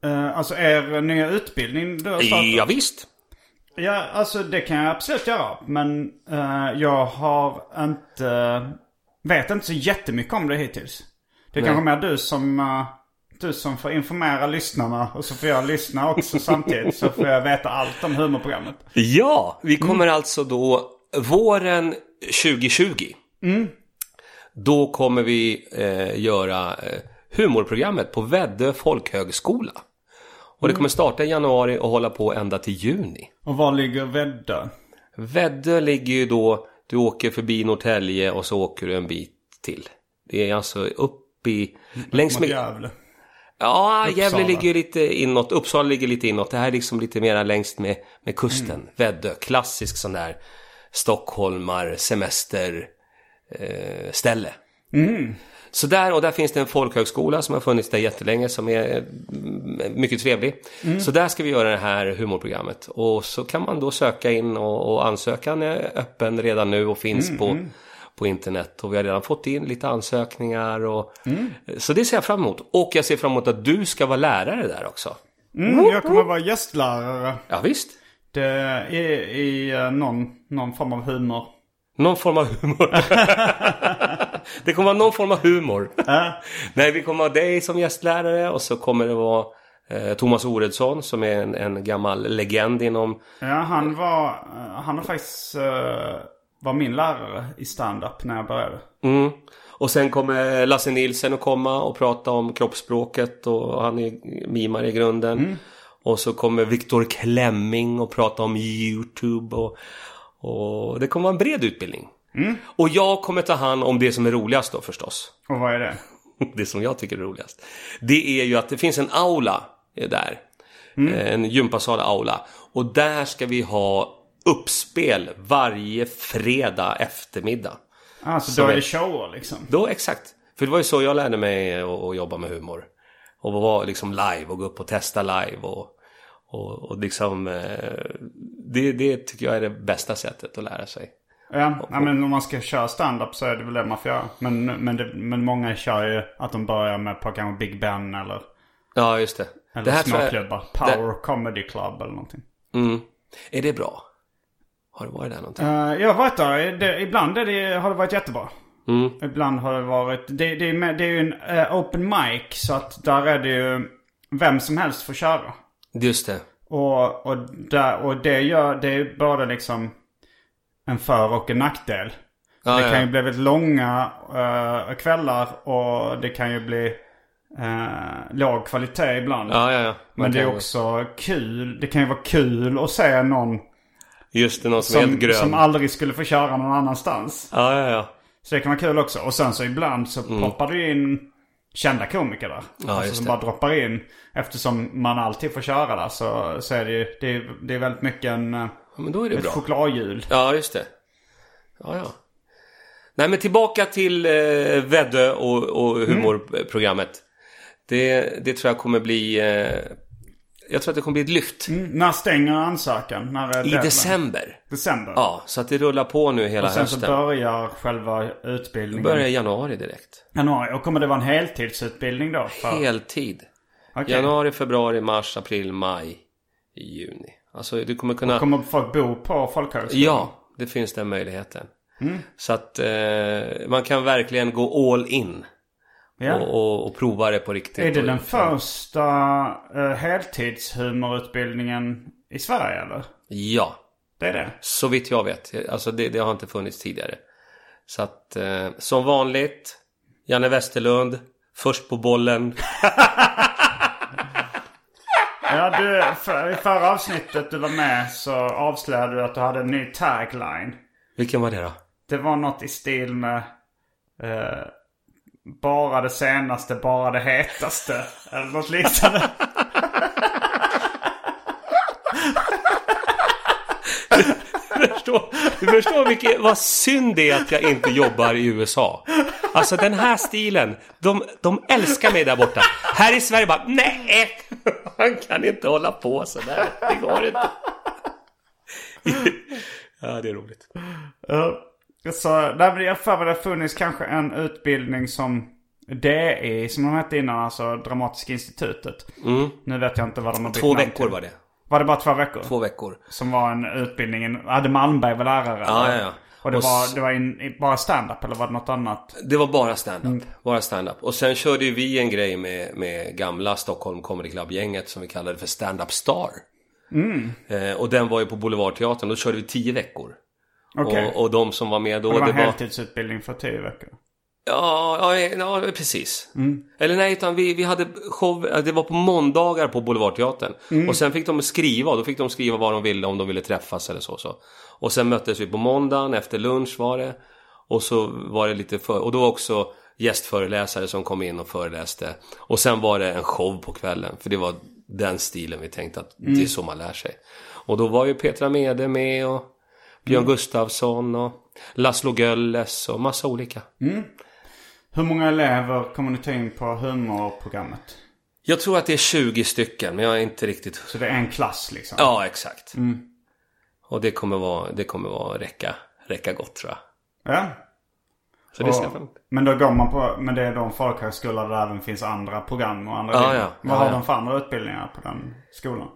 Speaker 1: eh, alltså er nya utbildning du har startat.
Speaker 2: Ja, visst.
Speaker 1: Ja, alltså det kan jag absolut göra. Men eh, jag har inte... Vet inte så jättemycket om det hittills. Det är
Speaker 2: Nej.
Speaker 1: kanske mer du som... eh, du som får informera lyssnarna och så får jag lyssna också
Speaker 2: [LAUGHS]
Speaker 1: samtidigt. Så får jag veta allt om humorprogrammet.
Speaker 2: Ja, vi kommer alltså då våren 2020. Då kommer vi eh, göra eh, humorprogrammet på Väddö folkhögskola. Och det kommer starta i januari och hålla på ända till juni.
Speaker 1: Och var ligger Väddö?
Speaker 2: Väddö ligger ju då, du åker förbi Norrtälje och så åker du en bit till. Det är alltså upp i, längs
Speaker 1: Mot
Speaker 2: med,
Speaker 1: Gävle.
Speaker 2: ja Gävle
Speaker 1: Uppsala.
Speaker 2: ligger ju lite inåt, Uppsala ligger lite inåt, det här är liksom lite mera längs med, med kusten. Väddö, klassisk sån där stockholmar semester eh, ställe. Så där, och där finns det en folkhögskola som har funnits där jättelänge som är eh, mycket trevlig. Så där ska vi göra det här humorprogrammet. Och så kan man då söka in och, och ansökan är öppen redan nu och finns på, på internet. Och vi har redan fått in lite ansökningar. Och, eh, Så det ser jag fram emot. Och jag ser fram emot att du ska vara lärare där också.
Speaker 1: Mm, jag kommer vara gästlärare.
Speaker 2: Ja, visst.
Speaker 1: Det i, i eh, någon, någon form av humor.
Speaker 2: Någon form av humor. [LAUGHS] det kommer vara någon form av humor. Nej, vi kommer ha dig som gästlärare och så kommer det vara eh, Thomas Oredsson som är en, en gammal legend inom...
Speaker 1: Ja, han var, eh, han har faktiskt eh, var min lärare i stand-up när jag började.
Speaker 2: Mm. Och sen kommer Lasse Nilsen att komma och prata om kroppsspråket och han är mimare i grunden. Och så kommer Viktor Klemming och prata om YouTube och, och det kommer vara en bred utbildning. Och jag kommer ta hand om det som är roligast då förstås. [LAUGHS]
Speaker 1: Och vad är det?
Speaker 2: det som jag tycker är roligast, det är ju att det finns en aula eh, där. Eh, En gympasal aula. Och där ska vi ha uppspel varje fredag eftermiddag.
Speaker 1: Alltså
Speaker 2: Så
Speaker 1: då är
Speaker 2: är-
Speaker 1: det shower liksom.
Speaker 2: Då exakt. För det var ju så jag lärde mig att att jobba med humor. Och vara liksom live och gå upp och testa live och, Och, och liksom, eh, det, det tycker jag är det bästa sättet att lära sig.
Speaker 1: Ja, ja, men om man ska köra stand-up så är det väl det man får göra. Men, men, det, men många kör ju att de börjar med på kanske Big Ben eller,
Speaker 2: Ja, just det. det
Speaker 1: eller
Speaker 2: här tror jag-
Speaker 1: småklubbar. Power Comedy Club eller någonting.
Speaker 2: Mm. Är det bra? Har det varit där någonting?
Speaker 1: Eh, jag har varit där. Det, ibland är det, har det varit jättebra.
Speaker 2: Mm.
Speaker 1: Ibland har det varit... Det, det, är, med, det är ju en eh, open mic så att där är det ju vem som helst får köra.
Speaker 2: Just det.
Speaker 1: Och, och, där, och det gör... Det är både liksom en för och en nackdel.
Speaker 2: Ja,
Speaker 1: det kan
Speaker 2: ja.
Speaker 1: ju bli väldigt långa eh, kvällar och det kan ju bli eh, låg kvalitet ibland.
Speaker 2: Ja, ja, ja. Man
Speaker 1: Men det är
Speaker 2: kan-
Speaker 1: också kul. Det kan ju vara kul att se någon
Speaker 2: Just det, någon som, är helt
Speaker 1: som,
Speaker 2: grön.
Speaker 1: som aldrig skulle få köra någon annanstans.
Speaker 2: Ja, ja, ja.
Speaker 1: Så det kan vara kul också. Och sen så ibland så poppar det ju in kända komiker där. alltså
Speaker 2: Mm. just
Speaker 1: som
Speaker 2: det.
Speaker 1: bara droppar in. Eftersom man alltid får köra där så, så är det ju det är, det är väldigt mycket en, eh,
Speaker 2: ja men då är det
Speaker 1: ett
Speaker 2: bra.
Speaker 1: chokladhjul.
Speaker 2: Ja, just det. Ja, ja. Nej, men tillbaka till eh, Väddö och, och humorprogrammet. Det, det tror jag kommer bli... Eh, jag tror att det kommer bli ett lyft.
Speaker 1: Mm, När stänger ansökan? När är
Speaker 2: I
Speaker 1: deadline?
Speaker 2: december.
Speaker 1: December?
Speaker 2: Ja, så att det rullar på nu hela
Speaker 1: Och sen så
Speaker 2: hösten.
Speaker 1: börjar själva utbildningen.
Speaker 2: börjar i januari direkt.
Speaker 1: Januari. Och kommer det vara en heltidsutbildning då? För...
Speaker 2: Heltid.
Speaker 1: Okej.
Speaker 2: Januari, februari, mars, april, maj, juni. Alltså du kommer kunna...
Speaker 1: Kommer folk bo på folkhögskolan?
Speaker 2: Ja, det finns den möjligheten.
Speaker 1: Mm.
Speaker 2: Så att eh, man kan verkligen gå all in.
Speaker 1: Ja.
Speaker 2: Och, och, och prova det på riktigt.
Speaker 1: Är det
Speaker 2: Och-
Speaker 1: den första uh, heltidshumorutbildningen i Sverige eller?
Speaker 2: Ja,
Speaker 1: Det är det?
Speaker 2: så vitt jag vet. Alltså det, det har inte funnits tidigare. Så att eh, som vanligt, Janne Westerlund, först på bollen.
Speaker 1: Ja, du, för, i förra avsnittet du var med så avslöjade du att du hade en ny tagline.
Speaker 2: Vilken var det då?
Speaker 1: Det var något i stil med eh, bara det senaste, bara det hetaste. [LAUGHS] Eller något liknande.
Speaker 2: förstår, du förstår vilket, vad synd det är att jag inte jobbar i USA. Alltså den här stilen, de, de älskar mig där borta. Här i Sverige bara, nej, han kan inte hålla på sådär. Det går inte. Ja, det är roligt.
Speaker 1: Eh, så där vill jag för mig det har funnits kanske en utbildning som DI, som de hette innan, alltså Dramatiska institutet. Nu vet jag inte vad de har bytt
Speaker 2: Mm. Två
Speaker 1: namn
Speaker 2: veckor
Speaker 1: till.
Speaker 2: var det.
Speaker 1: Var det bara två veckor?
Speaker 2: Två veckor.
Speaker 1: Som var en utbildning, i- hade Malmberg var lärare?
Speaker 2: Ja,
Speaker 1: eller?
Speaker 2: ja, ja.
Speaker 1: Och det
Speaker 2: Och
Speaker 1: var,
Speaker 2: s-
Speaker 1: det var in, i- bara stand-up eller var det något annat?
Speaker 2: Det var bara stand-up.
Speaker 1: Mm.
Speaker 2: Bara stand-up. Och sen körde ju vi en grej med, med gamla Stockholm Comedy Club-gänget som vi kallade för Stand-Up Star.
Speaker 1: Mm.
Speaker 2: Eh, och den var ju på Boulevardteatern. Då körde vi tio veckor.
Speaker 1: Okej.
Speaker 2: Och, och de som var med då,
Speaker 1: det var
Speaker 2: det
Speaker 1: en
Speaker 2: var...
Speaker 1: heltidsutbildning för tio veckor.
Speaker 2: Ja, ja, ja, precis. Eller nej, utan vi, vi hade show, eh, det var på måndagar på Boulevardteatern. Och sen fick de skriva, och då fick de skriva vad de ville, om de ville träffas eller så. så. Och sen möttes vi på måndagen, efter lunch var det. Och så var det lite för... Och då var också gästföreläsare som kom in och föreläste. Och sen var det en show på kvällen, för det var den stilen vi tänkte att det är så man lär sig. Och då var ju Petra Mede med och Björn Gustafsson och Laszlo Gölles och massa olika.
Speaker 1: Hur många elever kommer ni ta in på humorprogrammet?
Speaker 2: Jag tror att det är 20 stycken, men jag är inte riktigt...
Speaker 1: Så det är en klass liksom?
Speaker 2: Ja, exakt. Och det kommer vara, det kommer vara räcka, räcka gott tror jag.
Speaker 1: Ja.
Speaker 2: Så det ser jag
Speaker 1: Och-
Speaker 2: fram emot.
Speaker 1: men då går man på, men det är de folkhögskolor där även finns andra program och andra
Speaker 2: Ja,
Speaker 1: linjer.
Speaker 2: ja.
Speaker 1: Vad
Speaker 2: Ja,
Speaker 1: har
Speaker 2: ja.
Speaker 1: de för andra utbildningar på den skolan?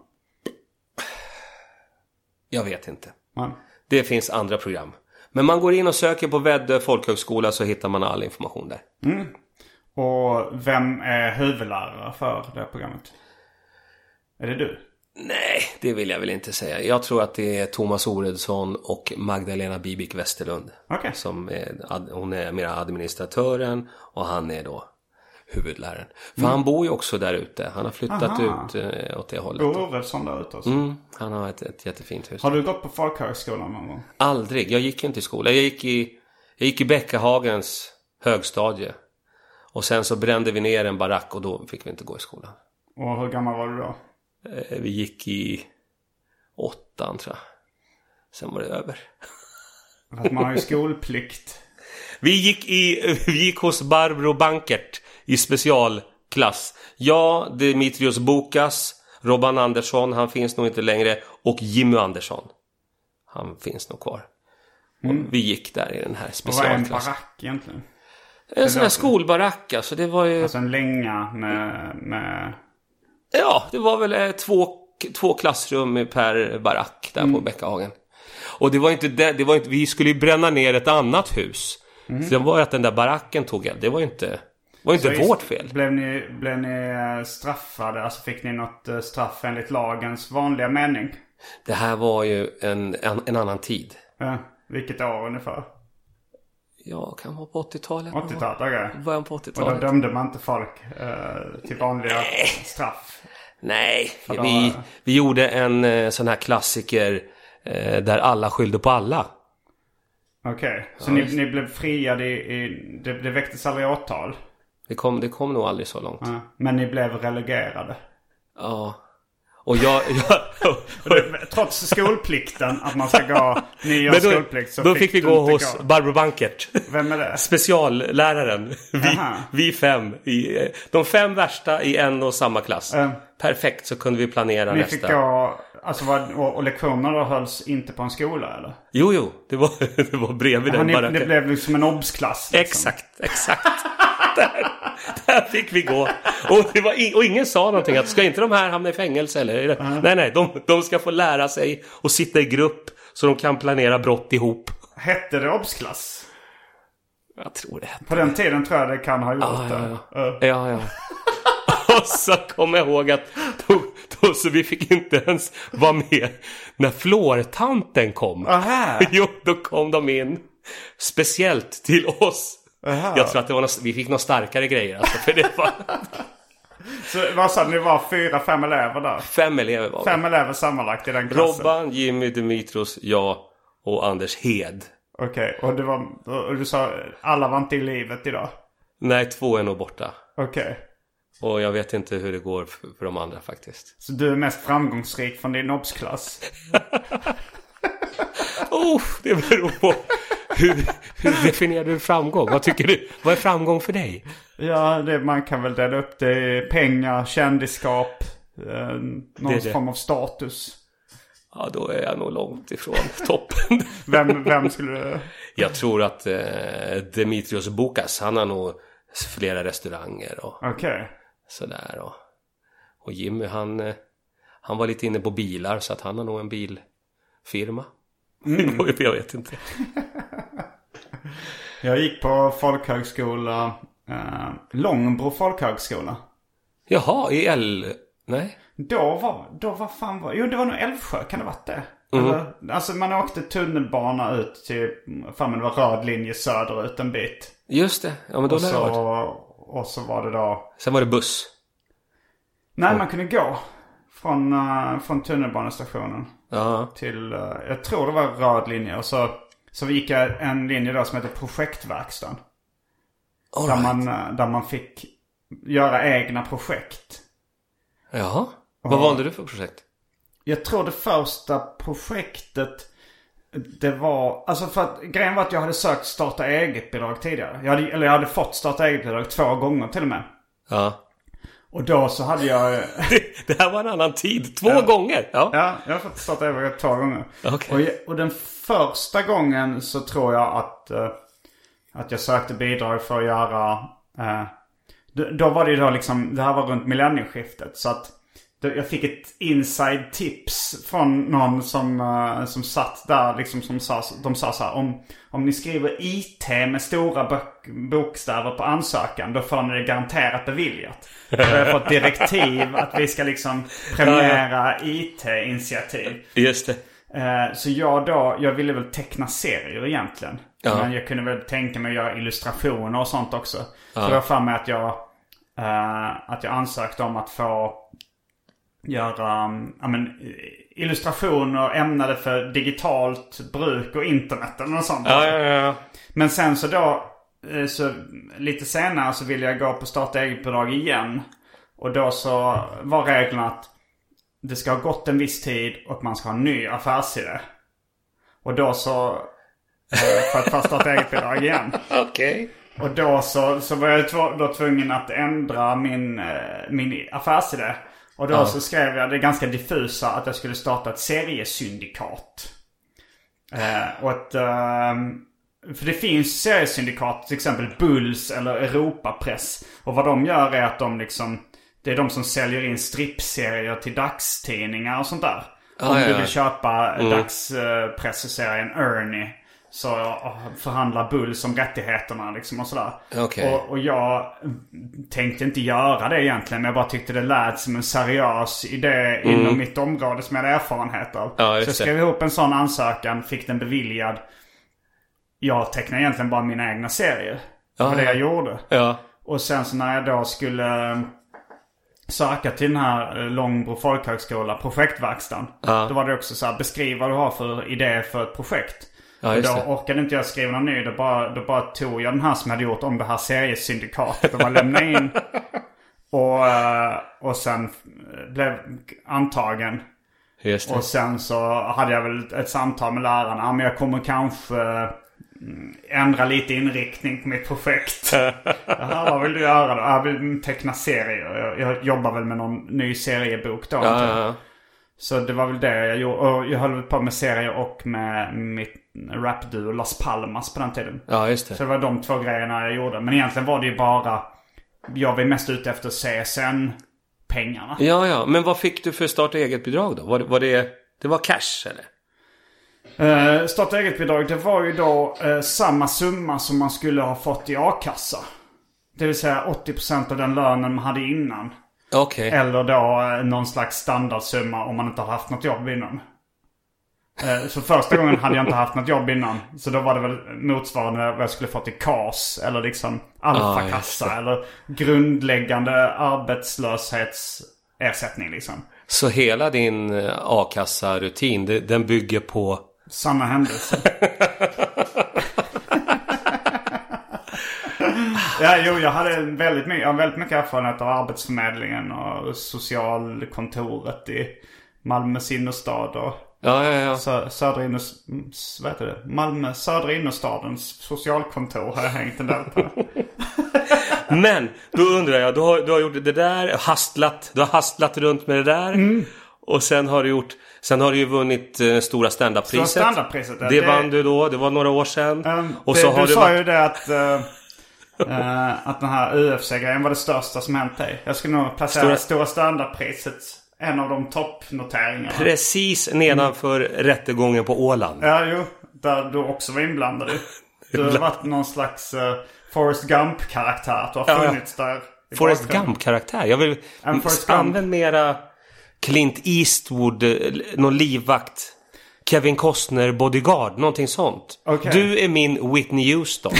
Speaker 2: Jag vet inte.
Speaker 1: Men,
Speaker 2: Det finns andra program. Men man går in och söker på Väddö folkhögskola så hittar man all information där.
Speaker 1: och vem är huvudlärare för det programmet? Är det du?
Speaker 2: Nej, det vill jag väl inte säga. Jag tror att det är Thomas Oredsson och Magdalena Bibik Westerlund.
Speaker 1: Okej.
Speaker 2: Som är, ad, hon är mera administratören och han är då huvudläraren. För han bor ju också där ute. Han har flyttat
Speaker 1: Aha.
Speaker 2: ut eh, åt det hållet.
Speaker 1: Bor Oredsson där ute också?
Speaker 2: Mm, han har ett, ett jättefint hus.
Speaker 1: Har du gått på folkhögskolan någon gång?
Speaker 2: Aldrig. Jag gick ju inte i skola. Jag gick i, jag gick i Bäckahagens högstadie. Och sen så brände vi ner en barack och då fick vi inte gå i skolan.
Speaker 1: Och hur gammal var du då?
Speaker 2: Eh, Vi gick i åttan tror jag. Sen var det över.
Speaker 1: För att man har ju skolplikt.
Speaker 2: Vi gick, i, [LAUGHS] vi gick hos Barbro Bankert i specialklass. Jag, Dimitrios Bokas, Robban Andersson, han finns nog inte längre. Och Jimmy Andersson. Han finns nog kvar. Och vi gick där i den här
Speaker 1: Mm. Och vad är en
Speaker 2: specialklassen.
Speaker 1: barack egentligen?
Speaker 2: En sån här skolbarack alltså. Det var ju...
Speaker 1: Alltså en länga med... med
Speaker 2: Ja, det var väl eh, två, två klassrum per barack där
Speaker 1: Mm.
Speaker 2: på Bäckahagen. Och det var inte det, det var inte, vi skulle ju bränna ner ett annat hus.
Speaker 1: Mm.
Speaker 2: Så det var att den där baracken tog eld. Det var ju inte, var inte vårt fel.
Speaker 1: Blev ni, blev ni eh, straffade? Alltså fick ni något eh, straff enligt lagens vanliga mening?
Speaker 2: Det här var ju en, en, en annan tid.
Speaker 1: Eh, vilket år ungefär?
Speaker 2: Ja, kan vara på 80-talet.
Speaker 1: 80-talet? Okej.
Speaker 2: Början på
Speaker 1: Och då
Speaker 2: 80-talet.
Speaker 1: dömde man inte folk eh, till vanliga straff?
Speaker 2: Nej,
Speaker 1: då-
Speaker 2: vi, vi gjorde en eh, sån här klassiker eh, där alla skyllde på alla.
Speaker 1: Okej. Så ni, ni blev friade i... i det, det väcktes aldrig åtal?
Speaker 2: Det kom, det kom nog aldrig så långt.
Speaker 1: Eh, Men ni blev relegerade?
Speaker 2: Ja. Och jag... [LAUGHS] jag [LAUGHS]
Speaker 1: Trots skolplikten, att man ska gå... Ni gör
Speaker 2: Men då,
Speaker 1: skolplikt så
Speaker 2: då fick vi
Speaker 1: liksom, du
Speaker 2: gå
Speaker 1: inte
Speaker 2: hos Barbro Bankert.
Speaker 1: Vem är det?
Speaker 2: [LAUGHS] Specialläraren. Vi,
Speaker 1: Aha.
Speaker 2: vi fem. I, eh, de fem värsta i en och samma klass. Perfekt, så kunde vi planera
Speaker 1: Ehm. Ni
Speaker 2: nästa.
Speaker 1: fick gå... Alltså vad, och, och lektionerna då hölls inte på en skola eller?
Speaker 2: Jo, jo. Det var, [LAUGHS] det var bredvid
Speaker 1: Ja,
Speaker 2: den
Speaker 1: ni, det
Speaker 2: baracken.
Speaker 1: blev liksom en obs-klass. Liksom.
Speaker 2: Exakt, exakt. [LAUGHS] där, där fick vi gå. Och, det var i- och ingen sa någonting. Att, ska inte de här hamna i fängelse eller? Nej, nej. De, de ska få lära sig och sitta i grupp. Så de kan planera brott ihop.
Speaker 1: Hette det obs-klass?
Speaker 2: Jag tror det.
Speaker 1: På den tiden tror jag det kan ha gjort det.
Speaker 2: Ah, ja, ja. ja, ja. [LAUGHS] Och så kommer jag ihåg att då, då, så vi fick inte ens vara med när flårtanten kom.
Speaker 1: Aha.
Speaker 2: [LAUGHS] Jo, då kom de in speciellt till oss. Jag tror att det var något, vi fick några starkare grejer alltså, för det var [LAUGHS]
Speaker 1: Så vad sa ni, det var fyra, fem elever där?
Speaker 2: fem elever var vi.
Speaker 1: Fem elever sammanlagt i den klassen?
Speaker 2: Robban, Jimmy, Dimitros, jag och Anders Hed.
Speaker 1: Okej, och det var... Och du sa alla var inte i livet idag?
Speaker 2: Nej, två är nog borta.
Speaker 1: Okej.
Speaker 2: Och jag vet inte hur det går för, för de andra faktiskt.
Speaker 1: Så du är mest framgångsrik från din obs-klass?
Speaker 2: Oh, det beror på hur, hur definierar du framgång? Vad tycker du? Vad är framgång för dig?
Speaker 1: Ja, det, man kan väl dela upp det i pengar, kändisskap, eh, någon
Speaker 2: är det.
Speaker 1: form av status.
Speaker 2: Ja, då är jag nog långt ifrån [LAUGHS] toppen.
Speaker 1: Vem, vem skulle...
Speaker 2: Jag tror att eh, Dimitrios Bokas, han har nog flera restauranger och
Speaker 1: Okej.
Speaker 2: sådär. Och, och Jimmy, han, eh, han var lite inne på bilar, så att han har nog en bilfirma. [LAUGHS] jag vet inte.
Speaker 1: Jag gick på folkhögskola, eh, Långbro folkhögskola.
Speaker 2: Jaha, i L... Nej?
Speaker 1: Då var, då var fan var, jo det var nog Älvsjö, kan det ha varit det?
Speaker 2: Mm.
Speaker 1: Eller, alltså man åkte tunnelbana ut till, fan men det var röd linje söderut en bit.
Speaker 2: Just det. Ja, men då
Speaker 1: Och
Speaker 2: lär det
Speaker 1: så,
Speaker 2: ha varit.
Speaker 1: och så var det då,
Speaker 2: Sen var det buss.
Speaker 1: nej man kunde gå från, eh, från tunnelbanestationen
Speaker 2: Ja.
Speaker 1: till, eh, jag tror det var röd linje och så, så gick jag en linje då som heter projektverkstan.
Speaker 2: All
Speaker 1: Där
Speaker 2: right.
Speaker 1: man, eh, där man fick göra egna projekt.
Speaker 2: Jaha. Vad valde du för projekt?
Speaker 1: Jag tror det första projektet det var, alltså för att grejen var att jag hade sökt starta eget-bidrag tidigare. Jag hade, eller jag hade fått starta eget-bidrag två gånger till och med.
Speaker 2: Ja.
Speaker 1: Och då så hade jag,
Speaker 2: [LAUGHS]
Speaker 1: [LAUGHS]
Speaker 2: Det, det här var en annan tid. Två gånger. Ja.
Speaker 1: ja, jag har fått starta eget två gånger.
Speaker 2: Okej.
Speaker 1: Och, jag, och den första gången så tror jag att, eh, att jag sökte bidrag för att göra, eh, då, då var det ju då liksom, det här var runt millennieskiftet. Så att då, jag fick ett inside tips från någon som, eh, som satt där liksom som sa, de sa så här, om, om ni skriver IT med stora bok, bokstäver på ansökan då får ni det garanterat beviljat. Då har jag fått direktiv att vi ska liksom premiera IT-initiativ.
Speaker 2: Just det.
Speaker 1: Eh, Så jag då, jag ville väl teckna serier egentligen.
Speaker 2: Ja.
Speaker 1: Men jag kunde väl tänka mig att göra illustrationer och sånt också. Så jag har för mig att jag, eh, att jag ansökte om att få göra um, ja, men, eh, illustrationer ämnade för digitalt bruk och internet eller något sånt.
Speaker 2: Ja, ja, ja.
Speaker 1: Men sen så då, eh, så lite senare så ville jag gå på starta eget-bidrag igen. Och då så var regeln att det ska ha gått en viss tid och man ska ha en ny affärsidé. Och då så, eh, för att få starta eget-bidrag igen.
Speaker 2: [LAUGHS] Okej.
Speaker 1: Och då så, så var jag tv- då tvungen att ändra min, eh, min affärsidé. Och då så skrev jag det ganska diffusa att jag skulle starta ett seriesyndikat. Eh, och att, ehm, för det finns seriesyndikat, till exempel Bulls eller Europapress. Och vad de gör är att de liksom, det är de som säljer in strippserier till dagstidningar och sånt där. Om
Speaker 2: Ah, ja,
Speaker 1: du
Speaker 2: ja.
Speaker 1: vill köpa eh,
Speaker 2: mm.
Speaker 1: dagspresseserien Ernie så eh, förhandlar Bulls om rättigheterna liksom och sådär.
Speaker 2: Okej.
Speaker 1: Och, och jag tänkte inte göra det egentligen. Men jag bara tyckte det lät som en seriös idé inom mitt område som jag hade erfarenhet av.
Speaker 2: Mm. Ja,
Speaker 1: så jag
Speaker 2: just det.
Speaker 1: skrev ihop en sån ansökan, fick den beviljad. Jag tecknade egentligen bara mina egna serier. Det var det jag gjorde.
Speaker 2: Ja.
Speaker 1: Och sen så när jag då skulle eh, söka till den här eh, Långbro folkhögskola, projektverkstan. Då var det också så här, beskriv vad du har för idé för ett projekt.
Speaker 2: Ja,
Speaker 1: och
Speaker 2: just
Speaker 1: då
Speaker 2: det.
Speaker 1: orkade inte jag skriva någon ny. Då bara, då bara tog jag den här som jag hade gjort om det här seriesyndikatet och bara lämnade
Speaker 2: [LAUGHS]
Speaker 1: in. Och, eh, och sen eh, blev antagen.
Speaker 2: Just det.
Speaker 1: Och sen så hade jag väl ett, ett samtal med läraren. Ja, men jag kommer kanske eh, mm, ändra lite inriktning på mitt
Speaker 2: [LAUGHS]
Speaker 1: projekt. Jaha, vad vill du göra då? Jag vill teckna serier. Jag, jag jobbar väl med någon ny seriebok då.
Speaker 2: Ja,
Speaker 1: antar jag.
Speaker 2: ja, ja.
Speaker 1: Så det var väl det jag gjorde. Och jag höll på med serier och med mitt rapduo Las Palmas på den tiden.
Speaker 2: ja, just det.
Speaker 1: Så det var de två grejerna jag gjorde. Men egentligen var det ju bara... Jag var mest ute efter CSN-pengarna.
Speaker 2: Ja, ja. Men vad fick du för starta eget-bidrag då? Var, det- var det... Det var cash, eller?
Speaker 1: Eh, starta eget-bidrag, det var ju då eh, samma summa som man skulle ha fått i a-kassa. Det vill säga 80% av den lönen man hade innan.
Speaker 2: Okej.
Speaker 1: Eller då eh, någon slags standardsumma om man inte har haft något jobb innan. Eh, Så första gången hade jag inte haft något jobb innan. Så då var det väl motsvarande vad jag skulle fått i KAS. Eller liksom alfakassa. eller grundläggande arbetslöshetsersättning liksom.
Speaker 2: Så hela din eh, a-kassa-rutin, det- den bygger på...
Speaker 1: Samma händelse. ja, jo, jag hade väldigt mycket, jag har väldigt mycket erfarenhet av Arbetsförmedlingen och socialkontoret i Malmös innerstad och
Speaker 2: Ja, ja, ja.
Speaker 1: sö- södra inners- mm, s- vad heter det? Malmö södra innerstadens socialkontor har jag hängt en del på.
Speaker 2: Men då undrar jag, du har, du har gjort det där, hastlat, du har hastlat runt med det där.
Speaker 1: Mm.
Speaker 2: Och sen har du gjort, sen har du ju vunnit eh, stora standup-priset.
Speaker 1: Stora standup-priset, ja.
Speaker 2: det,
Speaker 1: Det-
Speaker 2: vann du då, det var några år sedan.
Speaker 1: Ehm,
Speaker 2: och
Speaker 1: det,
Speaker 2: så
Speaker 1: du
Speaker 2: har du
Speaker 1: sa
Speaker 2: varit,
Speaker 1: ju det att, eh, eh, att den här UFC-grejen var det största som hänt dig. Jag skulle nog placera Stora standardpriset, en av de toppnoteringarna.
Speaker 2: precis nedanför rättegången på Åland.
Speaker 1: Ja, jo. Där du också var
Speaker 2: [LAUGHS]
Speaker 1: inblandad i. Du har varit någon slags uh, Forrest Gump-karaktär. Att du har
Speaker 2: Ja, ja.
Speaker 1: funnits där. i
Speaker 2: Forrest
Speaker 1: bakgrunden.
Speaker 2: Gump-karaktär. Jag vill
Speaker 1: En Forrest Gump.
Speaker 2: använd mera Clint Eastwood, eh, någon livvakt. Kevin Costner bodyguard, någonting sånt.
Speaker 1: Okej.
Speaker 2: Du är min
Speaker 1: [LAUGHS]
Speaker 2: Whitney Houston.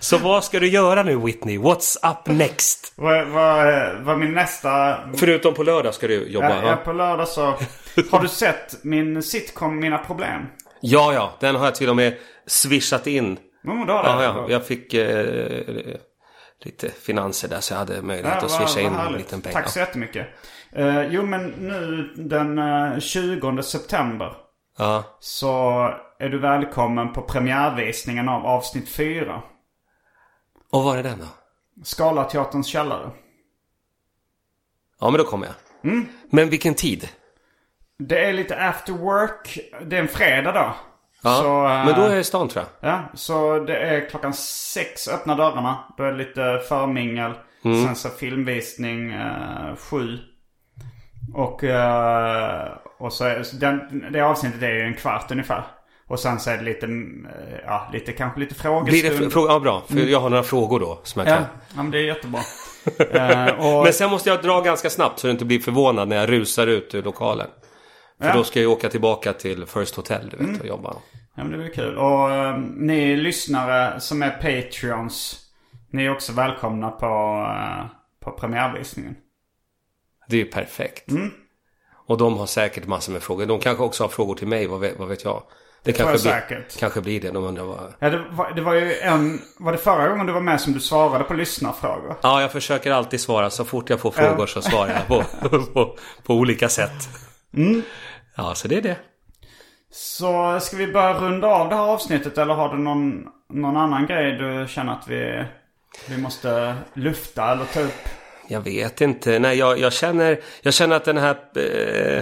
Speaker 2: Så vad ska du göra nu Whitney? What's up next?
Speaker 1: Vad, vad, eh, vad min nästa...
Speaker 2: Förutom på lördag ska du jobba?
Speaker 1: Ja, ja,
Speaker 2: Ja,
Speaker 1: på lördag
Speaker 2: [LAUGHS]
Speaker 1: så... Har du sett min sitcom Mina Problem?
Speaker 2: ja, ja den har jag till och med swishat in.
Speaker 1: Mm, du har det?
Speaker 2: Ja, ja, jag fick eh, lite finanser där så jag hade möjlighet att
Speaker 1: vad-
Speaker 2: swisha in
Speaker 1: vad
Speaker 2: en
Speaker 1: härligt.
Speaker 2: liten peng.
Speaker 1: Tack så jättemycket. Eh, jo, men nu den eh, 20 september
Speaker 2: ja.
Speaker 1: så är du välkommen på premiärvisningen av avsnitt 4.
Speaker 2: Och var är den då?
Speaker 1: Scalateaterns källare.
Speaker 2: Ja, men då kommer jag.
Speaker 1: Mm.
Speaker 2: Men vilken tid?
Speaker 1: Det är lite after work. Det är en fredag då.
Speaker 2: Ja.
Speaker 1: Så, eh,
Speaker 2: men då är jag i stan tror jag.
Speaker 1: Ja, så det är klockan sex öppnar dörrarna. Då är det lite förmingel.
Speaker 2: Mm.
Speaker 1: Sen så filmvisning eh, sju. Och, eh, och så är, så den, det avsnittet är ju en kvart ungefär. Och sen så är det lite, mm, eh, ja, lite kanske lite
Speaker 2: Blir det
Speaker 1: frågestund. Mm.
Speaker 2: fr- fråga? Ja, bra. För jag har några frågor då som jag
Speaker 1: ja,
Speaker 2: kan.
Speaker 1: ja, men det är
Speaker 2: [LAUGHS]
Speaker 1: jättebra. Eh, och,
Speaker 2: Men sen måste jag dra ganska snabbt så du inte blir förvånad när jag rusar ut ur lokalen. För då ska jag ju åka tillbaka till First Hotel, du vet,
Speaker 1: Mm.
Speaker 2: och jobba.
Speaker 1: Ja, men det blir kul. Och eh, ni lyssnare som är Patreons, ni är också välkomna på, eh, på premiärvisningen.
Speaker 2: Det är ju perfekt.
Speaker 1: Mm.
Speaker 2: Och de har säkert massor med frågor. De kanske också har frågor till mig, vad vet, vad vet jag? Det kanske,
Speaker 1: tror jag
Speaker 2: blir,
Speaker 1: säkert.
Speaker 2: kanske blir det. De undrar vad...
Speaker 1: Ja, det, var, det var ju en... Var det förra gången du var med som du svarade på lyssnarfrågor?
Speaker 2: Ja, jag försöker alltid svara. Så fort jag får frågor så svarar jag på, [LAUGHS] på, på olika sätt.
Speaker 1: Mm.
Speaker 2: Ja, så det är det.
Speaker 1: Så ska vi börja runda av det här avsnittet eller har du någon, någon annan grej du känner att vi, vi måste lufta eller ta upp?
Speaker 2: Jag vet inte. Nej, jag, jag, känner, jag känner att den här eh,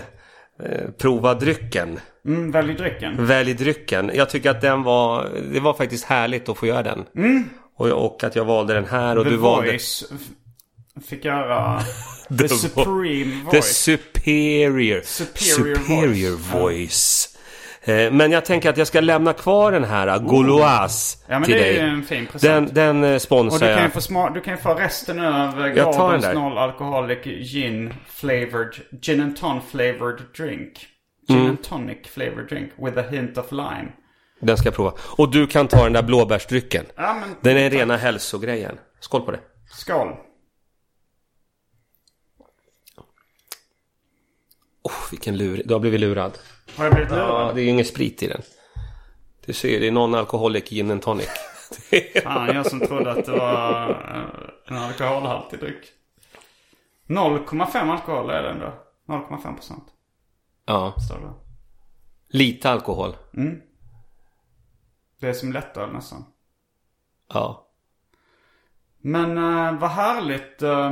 Speaker 2: eh, prova drycken,
Speaker 1: Mm, välj drycken.
Speaker 2: välj drycken. Jag tycker att den var, det var faktiskt härligt att få göra den. Och, och att jag valde den här och
Speaker 1: Mm. The
Speaker 2: du valde
Speaker 1: Voice f- fick
Speaker 2: [LAUGHS]
Speaker 1: göra The
Speaker 2: Vo-
Speaker 1: Supreme
Speaker 2: The
Speaker 1: Voice.
Speaker 2: superior,
Speaker 1: Superior
Speaker 2: superior,
Speaker 1: voice.
Speaker 2: voice. Eh, Men jag tänker att jag ska lämna kvar den här Goloas
Speaker 1: Oh. Ja, men
Speaker 2: till
Speaker 1: det är
Speaker 2: dig.
Speaker 1: ju en fin present.
Speaker 2: Den, den eh,
Speaker 1: Och
Speaker 2: sponsrar
Speaker 1: du kan, ju
Speaker 2: jag.
Speaker 1: få sma- du kan ju få resten eh, över
Speaker 2: Jag tar den
Speaker 1: Gordons
Speaker 2: där.
Speaker 1: Noll Alcoholic Gin Flavored... Gin and Ton Flavored Drink. Gin
Speaker 2: Mm.
Speaker 1: and Tonic Flavored Drink with a hint of lime.
Speaker 2: Den ska jag prova. Och du kan ta den där blåbärsdrycken.
Speaker 1: Ja, men-
Speaker 2: Den är rena hälsogrejen. Skål på det.
Speaker 1: Skål.
Speaker 2: Oh, vilken lur. Du har blivit lurad.
Speaker 1: Har jag blivit
Speaker 2: Ja,
Speaker 1: lurad?
Speaker 2: det är ju ingen sprit i den. Du ser, det är någon alkoholik gin and tonic.
Speaker 1: Fan, jag som trodde att det var eh, en alkoholhaltig dryck. 0,5 alkohol är den då. 0,5 procent.
Speaker 2: Ja,
Speaker 1: Står det.
Speaker 2: lite alkohol.
Speaker 1: Det är som lättöl nästan.
Speaker 2: Ja.
Speaker 1: Men eh, vad härligt. eh,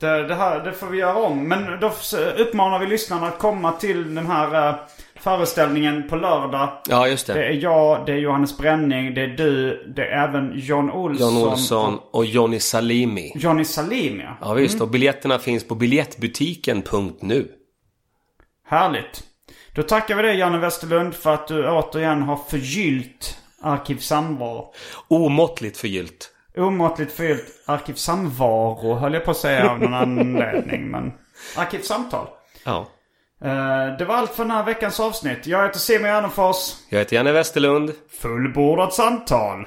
Speaker 1: det, det, här, det får vi göra om. Men då s- uppmanar vi lyssnarna att komma till den här eh, föreställningen på lördag.
Speaker 2: Ja, just
Speaker 1: Det
Speaker 2: det.
Speaker 1: är jag, det är Johannes Bränning, det är du, det är även John Olsson.
Speaker 2: Jan Olsson och Johnny Salimi.
Speaker 1: Johnny Salim ja.
Speaker 2: Ja visst, och biljetterna finns på biljettbutiken.nu.
Speaker 1: Härligt. Då tackar vi dig Janne Westerlund för att du återigen har förgyllt Arkivsamvaro.
Speaker 2: Omåttligt förgyllt.
Speaker 1: Omåttligt förgyllt Arkivsamvaro höll jag på att säga av någon anledning. Men Arkivsamtal.
Speaker 2: Ja.
Speaker 1: Eh, det var allt för den här veckans avsnitt. Jag heter Simon Gärdenfors.
Speaker 2: Jag heter Janne Westerlund.
Speaker 1: Fullbordat samtal.